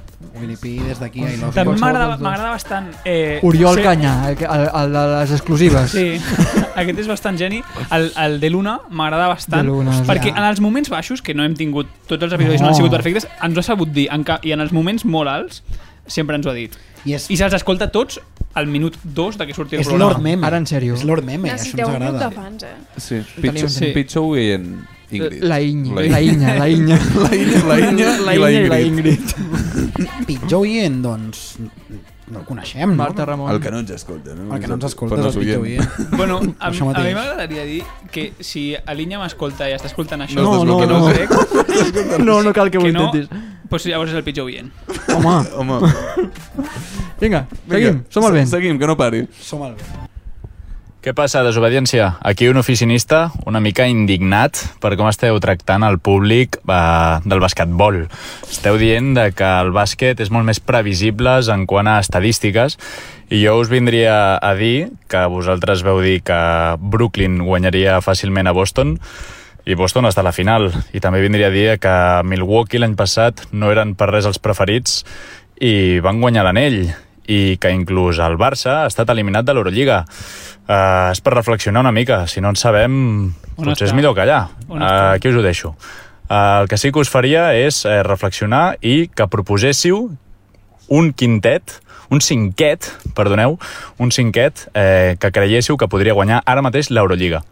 Willy P, des d'aquí, I love També you. m'agrada m'agrada bastant... Eh, Oriol ser- Canya, el, que- el, el de les exclusives. Sí, aquest és bastant geni. El, el de Luna m'agrada bastant, De Luna, sí. perquè en els moments baixos, que no hem tingut, tots els episodis no, No. han sigut perfectes, ens ho ha sabut dir, en ca... i en els moments molt alts sempre ens ho ha dit. I, és... I se'ls escolta tots al minut 2 de que surti el És programa. Lord Meme. Ara, en sèrio. És Lord Meme, això Necessiteu ens un grup de agrada. fans, eh? Sí, Tenim- pitjor, sí. sí. pitjor oient Ingrid. La Inya, La la Inya, la Inya. La Inya, la Inya, La i la Inya i la Ingrid. Pitjor oient, doncs, no el coneixem, no? Marta Ramon. El que no ens escolta, no? El que no ens escolta Però no és el pitjor oient. oient. Bueno, a, a Això mi mateix. m'agradaria dir que si Alinya m'escolta i està escoltant això... No, no, que no. ho crec, No, no cal que ho no, intentis. Doncs llavors és el pitjor oient. Home, Home, vinga, vinga, seguim, som al vent. se- Seguim, que no pari. Som al Què passa, desobediència? Aquí un oficinista una mica indignat per com esteu tractant el públic eh, del basquetbol. Esteu dient de que el bàsquet és molt més previsible en quant a estadístiques i jo us vindria a dir que vosaltres veu dir que Brooklyn guanyaria fàcilment a Boston i Boston està a la final. I també vindria a dir que Milwaukee l'any passat no eren per res els preferits i van guanyar l'anell i que inclús el Barça ha estat eliminat de l'Eurolliga. Uh, és per reflexionar una mica. Si no en sabem, On potser està? és millor callar. On Uh, aquí us ho deixo. Uh, el que sí que us faria és eh, reflexionar i que proposéssiu un quintet, un cinquet, perdoneu, un cinquet eh, que creiéssiu que podria guanyar ara mateix l'Eurolliga.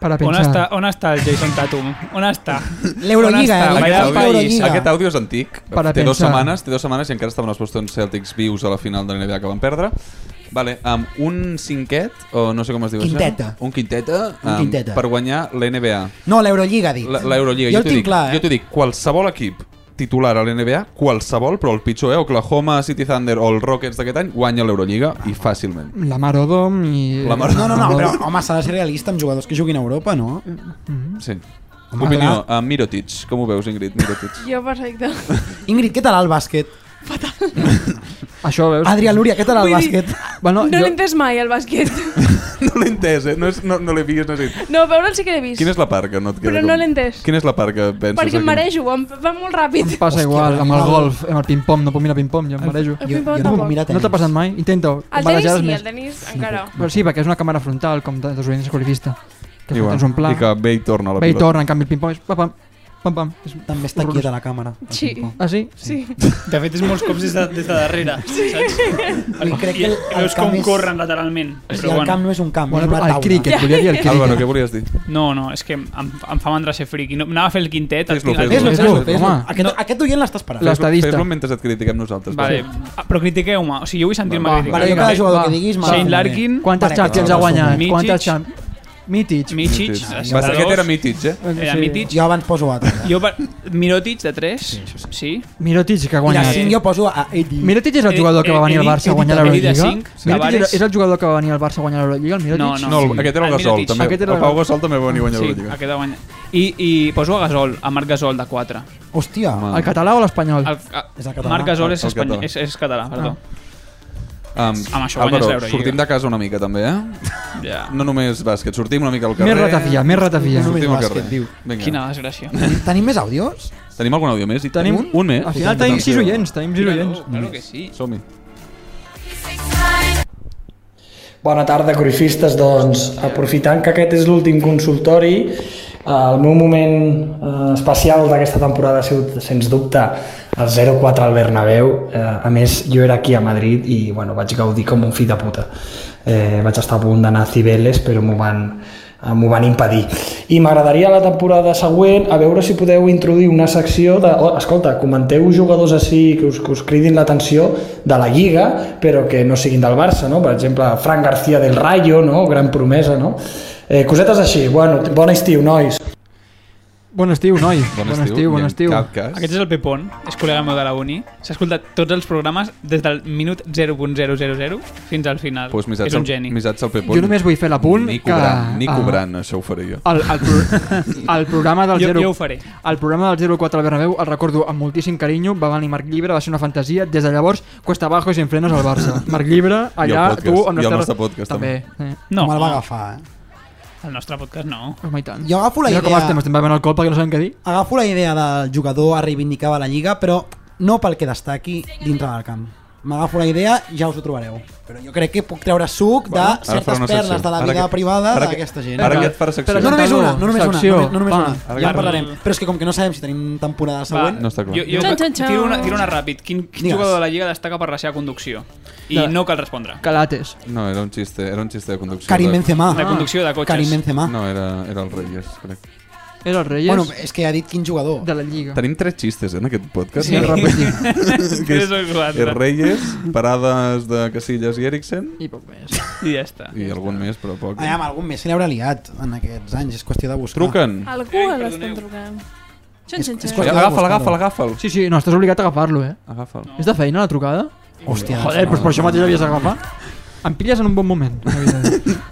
Per a On pensar. està, on està el Jason Tatum? On està? L'Eurolliga, On està? eh? Vaya Aquest país. àudio, aquest àudio és antic. Per a té dues pensar. setmanes, té dues setmanes i encara estaven els Boston Celtics vius a la final de la NBA que van perdre. Vale, um, un cinquet, o no sé com es diu Quinteta. això. Un quinteta. Un em, quinteta. Per guanyar la NBA. No, l'Eurolliga, ha dit. La- L'Eurolliga. Jo el t'ho tinc dic, clar, eh? Jo t'ho dic, qualsevol equip titular a l'NBA, qualsevol, però el pitjor, eh? Oklahoma City Thunder o els Rockets d'aquest any, guanya l'Eurolliga i fàcilment. La Mar Odom i... La Mar- No, no, no, però, home, s'ha de ser realista amb jugadors que juguin a Europa, no? Sí. Home, Opinió, a Mirotic. Com ho veus, Ingrid? Mirotic. Jo perfecte. Ingrid, què tal el bàsquet? Això veus? Adrià Lúria, què tal el Vull dir- bàsquet? No, Bueno, no l'he entès mai, el bàsquet. No l'he entès, eh? No, és, no, no l'he vist, no sé. No, veure'l sí que l'he vist. Quina és la part que no et queda? Però com- no l'he entès. Quina és la part que penses? Perquè em aquí? marejo, em, va molt ràpid. Em passa igual, amb el golf, amb el ping-pong, no puc mirar ping-pong, jo em El- marejo. el ping-pong Jo- jo no tampoc. puc mirar No t'ha tenis. passat mai? Intenta-ho. El tenis barrejar-les sí, més. el tenis encara. Però sí, perquè és una càmera frontal, com de desobediència escolifista. Que Igual. tens un pla. I que ve i torna la Ve i pilota. torna, en canvi el ping-pong és pam, pam, pam, pam. És També està horrorós. quieta la càmera. Sí. Ah, sí? Sí. De fet, és molts cops des de, des de darrere. Sí. Saps? Crec que I el- el veus camp com és- corren lateralment. Sí, el camp no és un camp, és una taula. Álvaro, què volies dir? No, no, és que em, em, em fa mandra ser friqui. No, anava a fer el quintet. el Fes-lo, tinc- el- fes-lo, Fes-lo, fes-lo. fes-lo. Home. Aquest, aquest oient l'estàs parant. Fes-lo mentre et critiquem nosaltres. Vale. Ah, Però critiqueu-me. O sigui, jo vull sentir-me Va, criticat. va, Vinga. cada jugador que Va. diguis, me'l Shane resumiré. Larkin. Quants Champions ha guanyat? Mitic. Quantes Champions? Mític. Mític. Mític. Va, aquest era Mític, eh? Era Sí. Mític. Jo abans poso altre. Jo, per- Mirotic, de 3. Sí. sí. Mirotic, que ha guanyat. I a cinc jo poso a Edi. Mirotic Eh, és el Eh, jugador que va venir al Barça a guanyar l'Eurolliga? Mirotic era- és el jugador que va venir al Barça a guanyar l'Eurolliga, el Mirotic? No, el- aquest era el Gasol, Ah, Mirotic. també. Aquest era El Pau Gasol també va venir a guanyar sí, l'Eurolliga. aquest va guanyar. I, I poso a Gasol, a Marc Gasol, de 4. Hòstia. El català o l'espanyol? El, a, Marc Gasol és, espanyol, és, és Ah, català, perdó. Um, Amb això guanyes l'Eurolliga. sortim de casa una mica, també, eh? Ja. No només bàsquet, sortim una mica al Més carrer. ratafia, més ratafia. No només Sortim al bàsquet, carrer. diu. Vinga. Quina desgràcia. Tenim més àudios? Tenim algun àudio més? I Tenim un, un més. Al final tenim sis oients, tenim sis oients. Claro que sí. Som-hi. Bona tarda, corifistes. Doncs, aprofitant que aquest és l'últim consultori, eh, el meu moment eh, especial d'aquesta temporada ha sigut, sens dubte, el 0-4 al Bernabéu. Eh, a més, jo era aquí a Madrid i bueno, vaig gaudir com un fill de puta. Eh, vaig estar a punt d'anar a Cibeles, però m'ho van, eh, m'ho van impedir. I m'agradaria la temporada següent a veure si podeu introduir una secció de... Oh, escolta, comenteu jugadors així que us, que us cridin l'atenció de la Lliga, però que no siguin del Barça, no? Per exemple, Fran García del Rayo, no? Gran promesa, no? Eh, cosetes així. Bueno, bon estiu, nois. Bon estiu, noi. Bon estiu, estiu, bon estiu. Aquest és el Pepon, és col·lega meu de la uni. S'ha escoltat tots els programes des del minut 0.000 fins al final. Pues Doncs missatge, és un al- geni. Missatge al Pepón. Jo només vull fer l'apunt Ni que, cobrant, ni ah, cobrant, això ho faré jo. El, el, pro, el programa del Jo- 0... jo ho faré. El programa del 04 al Bernabéu, el recordo amb moltíssim carinyo, va venir Marc Llibre, va ser una fantasia, des de llavors, cuesta abajo i sin frenos al Barça. Marc Llibre, I el allà, podcast, tu, amb i les el terres... nostre podcast, també. també. No. Me'l va agafar, eh? El nostre podcast no. Home, i tant. Jo agafo la Mira com idea- estem, estem bevent alcohol perquè no sabem què dir. Agafo la idea del jugador a reivindicar a la Lliga, però no pel que destaqui dintre del camp. M'agafo la idea, ja us ho trobareu. Però jo crec que puc treure suc de Bueno, ara farà certes una perles secció. de la Ara vida que- privada ara que- d'aquesta gent. ara que et farà secció. No només una, no només una, Secció, no, només- no només va. una. Ara Ja que- en parlarem. Però és que com que no sabem si tenim temporada següent... No està clar. Jo, jo Xan, xan, xan. tiro, una, tiro una ràpid. Quin, quin Digues. jugador de la Lliga destaca per la seva conducció? I De- no cal respondre. Calates. No, era un xiste, era un xiste de conducció. Karim Benzema. De conducció de cotxes. Karim Benzema. No, era, era el Reyes, crec. Era el Reyes Bueno, és que ha dit quin jugador. de la Lliga. Tenim tres xistes eh, en aquest podcast. Sí. Eh? Repetim. que és, Tres o quatre. és Reyes, parades de Casillas i Eriksen. I poc més. I ja està. I algun més, però poc. Aviam, algun més se n'haurà liat en aquests anys. És qüestió de buscar. Truquen. Algú a l'estan trucant. Xen, xen, xen. Agafa'l, agafa'l, agafa'l. agafa'l. Sí, sí, no, estàs obligat a agafar-lo, eh? Agafa'l. És de feina, la trucada? Hòstia. Joder, doncs per això mateix l'havies d'agafar. Em pilles en un bon moment. la veritat.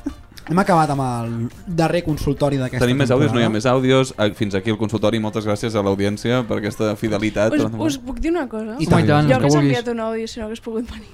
Hem acabat amb el darrer consultori d'aquesta Tenim més àudios, no hi ha temporada. més àudios. Ah, Fins aquí el consultori. Moltes gràcies a l'audiència per aquesta fidelitat. Doncs, Us, us puc dir una cosa? I tant. Home, i jo tant, el que hagués vulguis. enviat un àudio si no hagués pogut venir.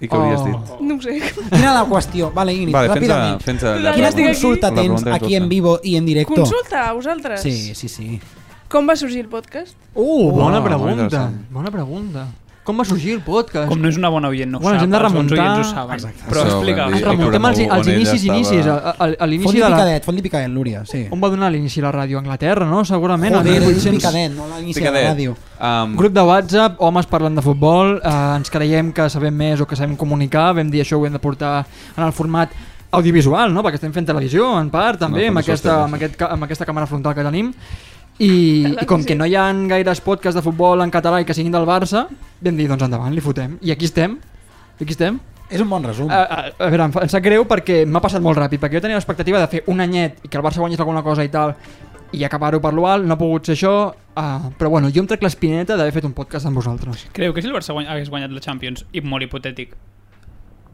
I què hauries dit? No ho sé. Quina era la qüestió? Vale, Ingrid, Vale, fes-la- ràpidament. fes-la la Quina pregunta. consulta La tens pregunta és aquí en justa. vivo i en directo? Consulta a vosaltres. Sí, sí, sí. Com va sorgir el podcast? Uh, bona molt pregunta. interessant. Bona pregunta. Com va sorgir el podcast? Com no és una bona oient, no ho bueno, ens sap, hem de els bons remuntar... oients ho saben. Exacte. Però Ens explica. Ens Sí, remuntem als, on als ella inicis, estava. inicis. A, a, a Font l'inici i de la... Picadet, Font i Picadet, Núria, sí. On va donar l'inici la ràdio? A Anglaterra, no? Segurament. Joder, el he dit 1800. Picadet, no l'inici de la Picadet. ràdio. Um, Grup de WhatsApp, homes parlant de futbol, eh, ens creiem que sabem més o que sabem comunicar, vam dir això ho hem de portar en el format audiovisual, no? perquè estem fent televisió en part també, No, amb, per això aquesta, estem amb, aquest, ca- amb aquesta càmera frontal que tenim i, i com que no hi ha gaires podcasts de futbol en català i que siguin del Barça, vam dir doncs endavant, li fotem, i aquí estem i aquí estem és un bon resum. A, a, a veure, em, fa, em sap greu perquè m'ha passat molt ràpid, perquè jo tenia l'expectativa de fer un anyet i que el Barça guanyés alguna cosa i tal, i acabar-ho per l'UAL, no ha pogut ser això, uh, però bueno, jo em trec l'espineta d'haver fet un podcast amb vosaltres. Creu que si el Barça guany hagués guanyat la Champions, i molt hipotètic,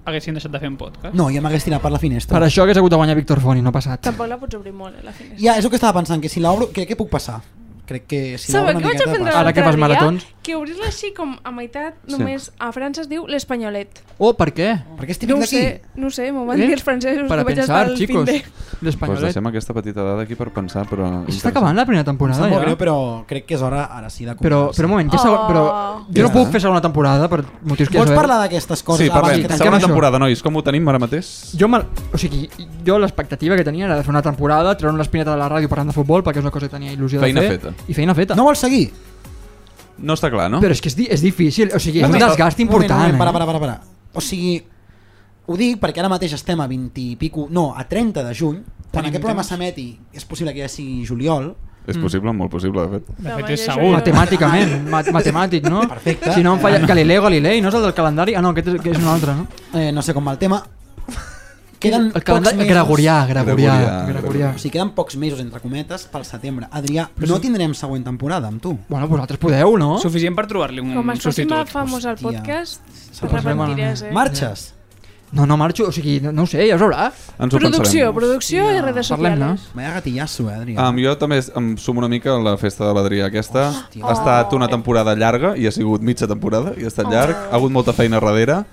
haguessin deixat de fer un podcast? No, ja m'hagués tirat per la finestra. Per això hagués hagut de guanyar Víctor Font i no ha passat. Tampoc la pots obrir molt, eh, la finestra. Ja, és el que estava pensant, que si l'obro, crec que puc passar. Crec que si Sabeu l'obro una què vaig miqueta aprendre passa. l'altre dia? Que obrir-la així com a meitat, Sí. només a França es diu l'Espanyolet. Oh, per què? Perquè és No ho sé, no ho sé, m'ho van Eh? dir els francesos. Per que a vaig pensar, estar al chicos. finde. L'Espanyolet. Pues deixem aquesta petita dada aquí per pensar, però... Està acabant la primera Em temporada, sap molt ja. greu, però crec que és hora ara sí de Però, començar. però un moment, que segon, però jo no Ja. puc fer segona temporada per motius que ja Vols sabeu. parlar d'aquestes coses Sí, abans parlem. que tanquem Segona això? temporada, nois, com ho tenim ara mateix? Jo, me, o sigui, jo l'expectativa que tenia era de fer una temporada, treure l'espineta de la ràdio parlant de futbol, perquè és una cosa que tenia il·lusió Feina de fer. feta. I feina feta. No vols seguir? No està clar, no? Però és que és, di és difícil, o sigui, és un Moment, desgast important. moment, Para, eh? para, para, para. O sigui, ho dic perquè ara mateix estem a 20 i pico, no, a 30 de juny, quan Tenim aquest programa temps. s'emeti, és possible que ja sigui juliol. És possible, molt possible, de fet. De fet, és segur. Matemàticament, mat matemàtic, no? Perfecte. Si no em falla... Galileo Galilei, no és el del calendari? Ah, no, aquest és, que és un altre, no? Eh, no sé com va el tema. Queden El calendari- Gregorià, Gregorià, Gregorià. Gregorià. O sigui, queden pocs mesos, entre cometes, pel setembre. Adrià, no tindrem següent temporada amb tu. Bueno, vosaltres podeu, no? Suficient per trobar-li Mm, un, Com un es faci substitut. més famós al podcast, Se per la posem a la- mentides, eh? Marxes? No, no marxo, o sigui, no, no ho sé, ja ho sabrà. Ens ho Producció, pensarem. producció i redes socials. Vaya gatillazo, eh, Adrià. Um, jo també es- em sumo una mica a la festa de l'Adrià aquesta. Ha estat una temporada llarga i ha sigut mitja temporada i ha Oh. estat llarg. Ha hagut molta feina darrere.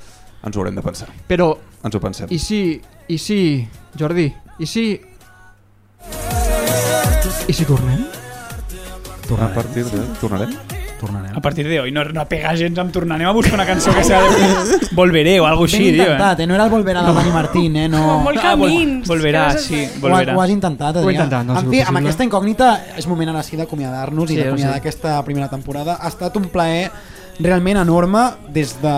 Ens ho haurem de pensar. Però, Ens ho pensem. i si... I si... Jordi, i si... I si tornem? A partir de... Tornarem? Tornarem. A partir d'avui no, no pega gens amb tornar. Anem a buscar una cançó que sea de... Volveré o alguna cosa Ben així, tio. intentat, eh? No era el Volverà de Dani Martín, eh? No. Com molt Ah, vol- camins, volverà, que no sé sí, fer. volverà. Ho, ho has intentat, Ho he Adrià. intentat, no ha en sigut fi, amb possible. aquesta incògnita és moment ara sí d'acomiadar-nos Sí, i d'acomiadar sí. aquesta primera temporada. Ha estat un plaer realment enorme des de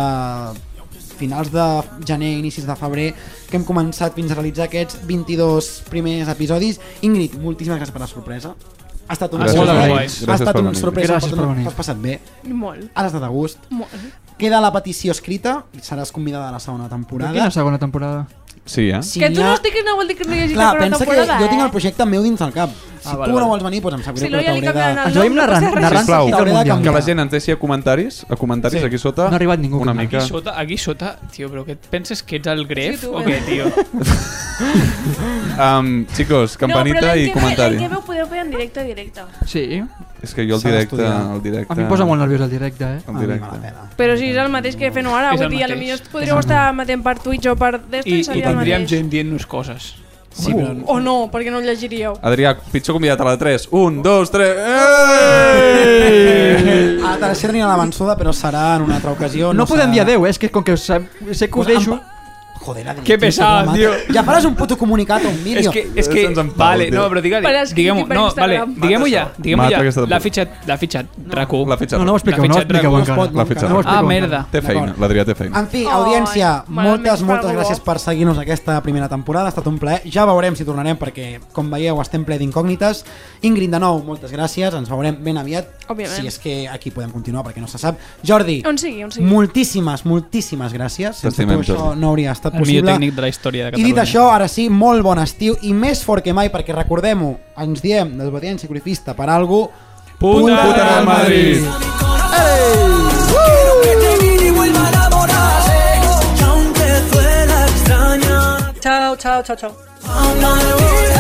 finals de gener, inicis de febrer, que hem començat fins a realitzar aquests 22 primers episodis. Ingrid, moltíssimes gràcies per la sorpresa. Ha estat una, Gràcies sorpresa. per venir. ha Gràcies estat per una venir. sorpresa. Gràcies per venir. T'has passat bé. Molt. Has estat a gust. Molt. Queda la petició escrita, seràs convidada a la segona temporada. Quina segona temporada? Sí, eh? Sí. Que tu n'hi ha- no estiguis no vol dir que no hi hagi Clar, cap una pensa que temporada, jo tinc el eh? projecte meu dins el cap. Si Ah, vale, tu no vale. vols venir, doncs em sap Si greu, no, però ja li t'hauré de... canviaran el Ens ho hem nom, no narrant- passa res. narrant Sisplau, T'hauré de que canviar. la gent ens deixi a comentaris, a comentaris Sí. aquí sota. No ha arribat ningú Una que mica... Aquí sota, aquí sota, tio, però què et penses que ets el gref Sí, tu, o eh? què, tio? Ah. Um, chicos, no, però campanita l'any que i ve- comentari. Ah. L'any que ve ho podeu fer en directe, directe. Sí. És que jo el S'ha directe... d'estudiar. El directe... A mi em posa molt nerviós el directe, eh? El directe. Però si és el mateix que fent-ho ara, És vull el dir, a lo mateix. millor podríeu estar matent per Twitch o per d'esto I, i, i seria el tindríem mateix. gent dient-nos coses. Sí, però... O no, perquè no ho llegiríeu. Adrià, pitjor convidat a la 3. 1, 2, 3... A la tercera anirà a l'avançada, però serà en una altra ocasió. No, podem dir serà... adeu, eh? és que com que sé, sé que ho deixo... Joder, Adrià, Que tio, pesat, la mata. tio. Ja faràs un puto comunicat o un vídeo. És que, és que, vale, no, però digue-li, Per escrit diguem-ho, i per no, vale, Instagram. diguem-ho ja, Mata diguem-ho aquesta ja, temporada. l'ha fitxat, l'ha fitxat, RAC1. L'ha fitxat. No, no ho expliqueu, no ho expliqueu encara. L'ha fitxat. No ho Ah, expliqueu merda. Té feina, l'Adrià té feina. En fi, audiència, malament, moltes, per moltes favor. gràcies per seguir-nos aquesta primera temporada, ha estat un plaer. Ja veurem si tornarem perquè, com veieu, estem ple d'incògnites. Ingrid, de nou, moltes gràcies, ens veurem ben aviat, Òbviament. si és que aquí podem continuar perquè no se sap. Jordi, On sigui, on sigui. moltíssimes, moltíssimes gràcies. Sense tu T'estimem, això Jordi. no hauria estat El millor possible. tècnic de la història de I dit Catalunya. això, ara sí, molt bon estiu i més fort que mai, perquè recordem-ho, ens diem desobediència sacrifista per algo... Puta al Madrid. Quiero que te mire y vuelva a enamorarse. Y aunque duela extrañar. Chao, chao, chao, chao.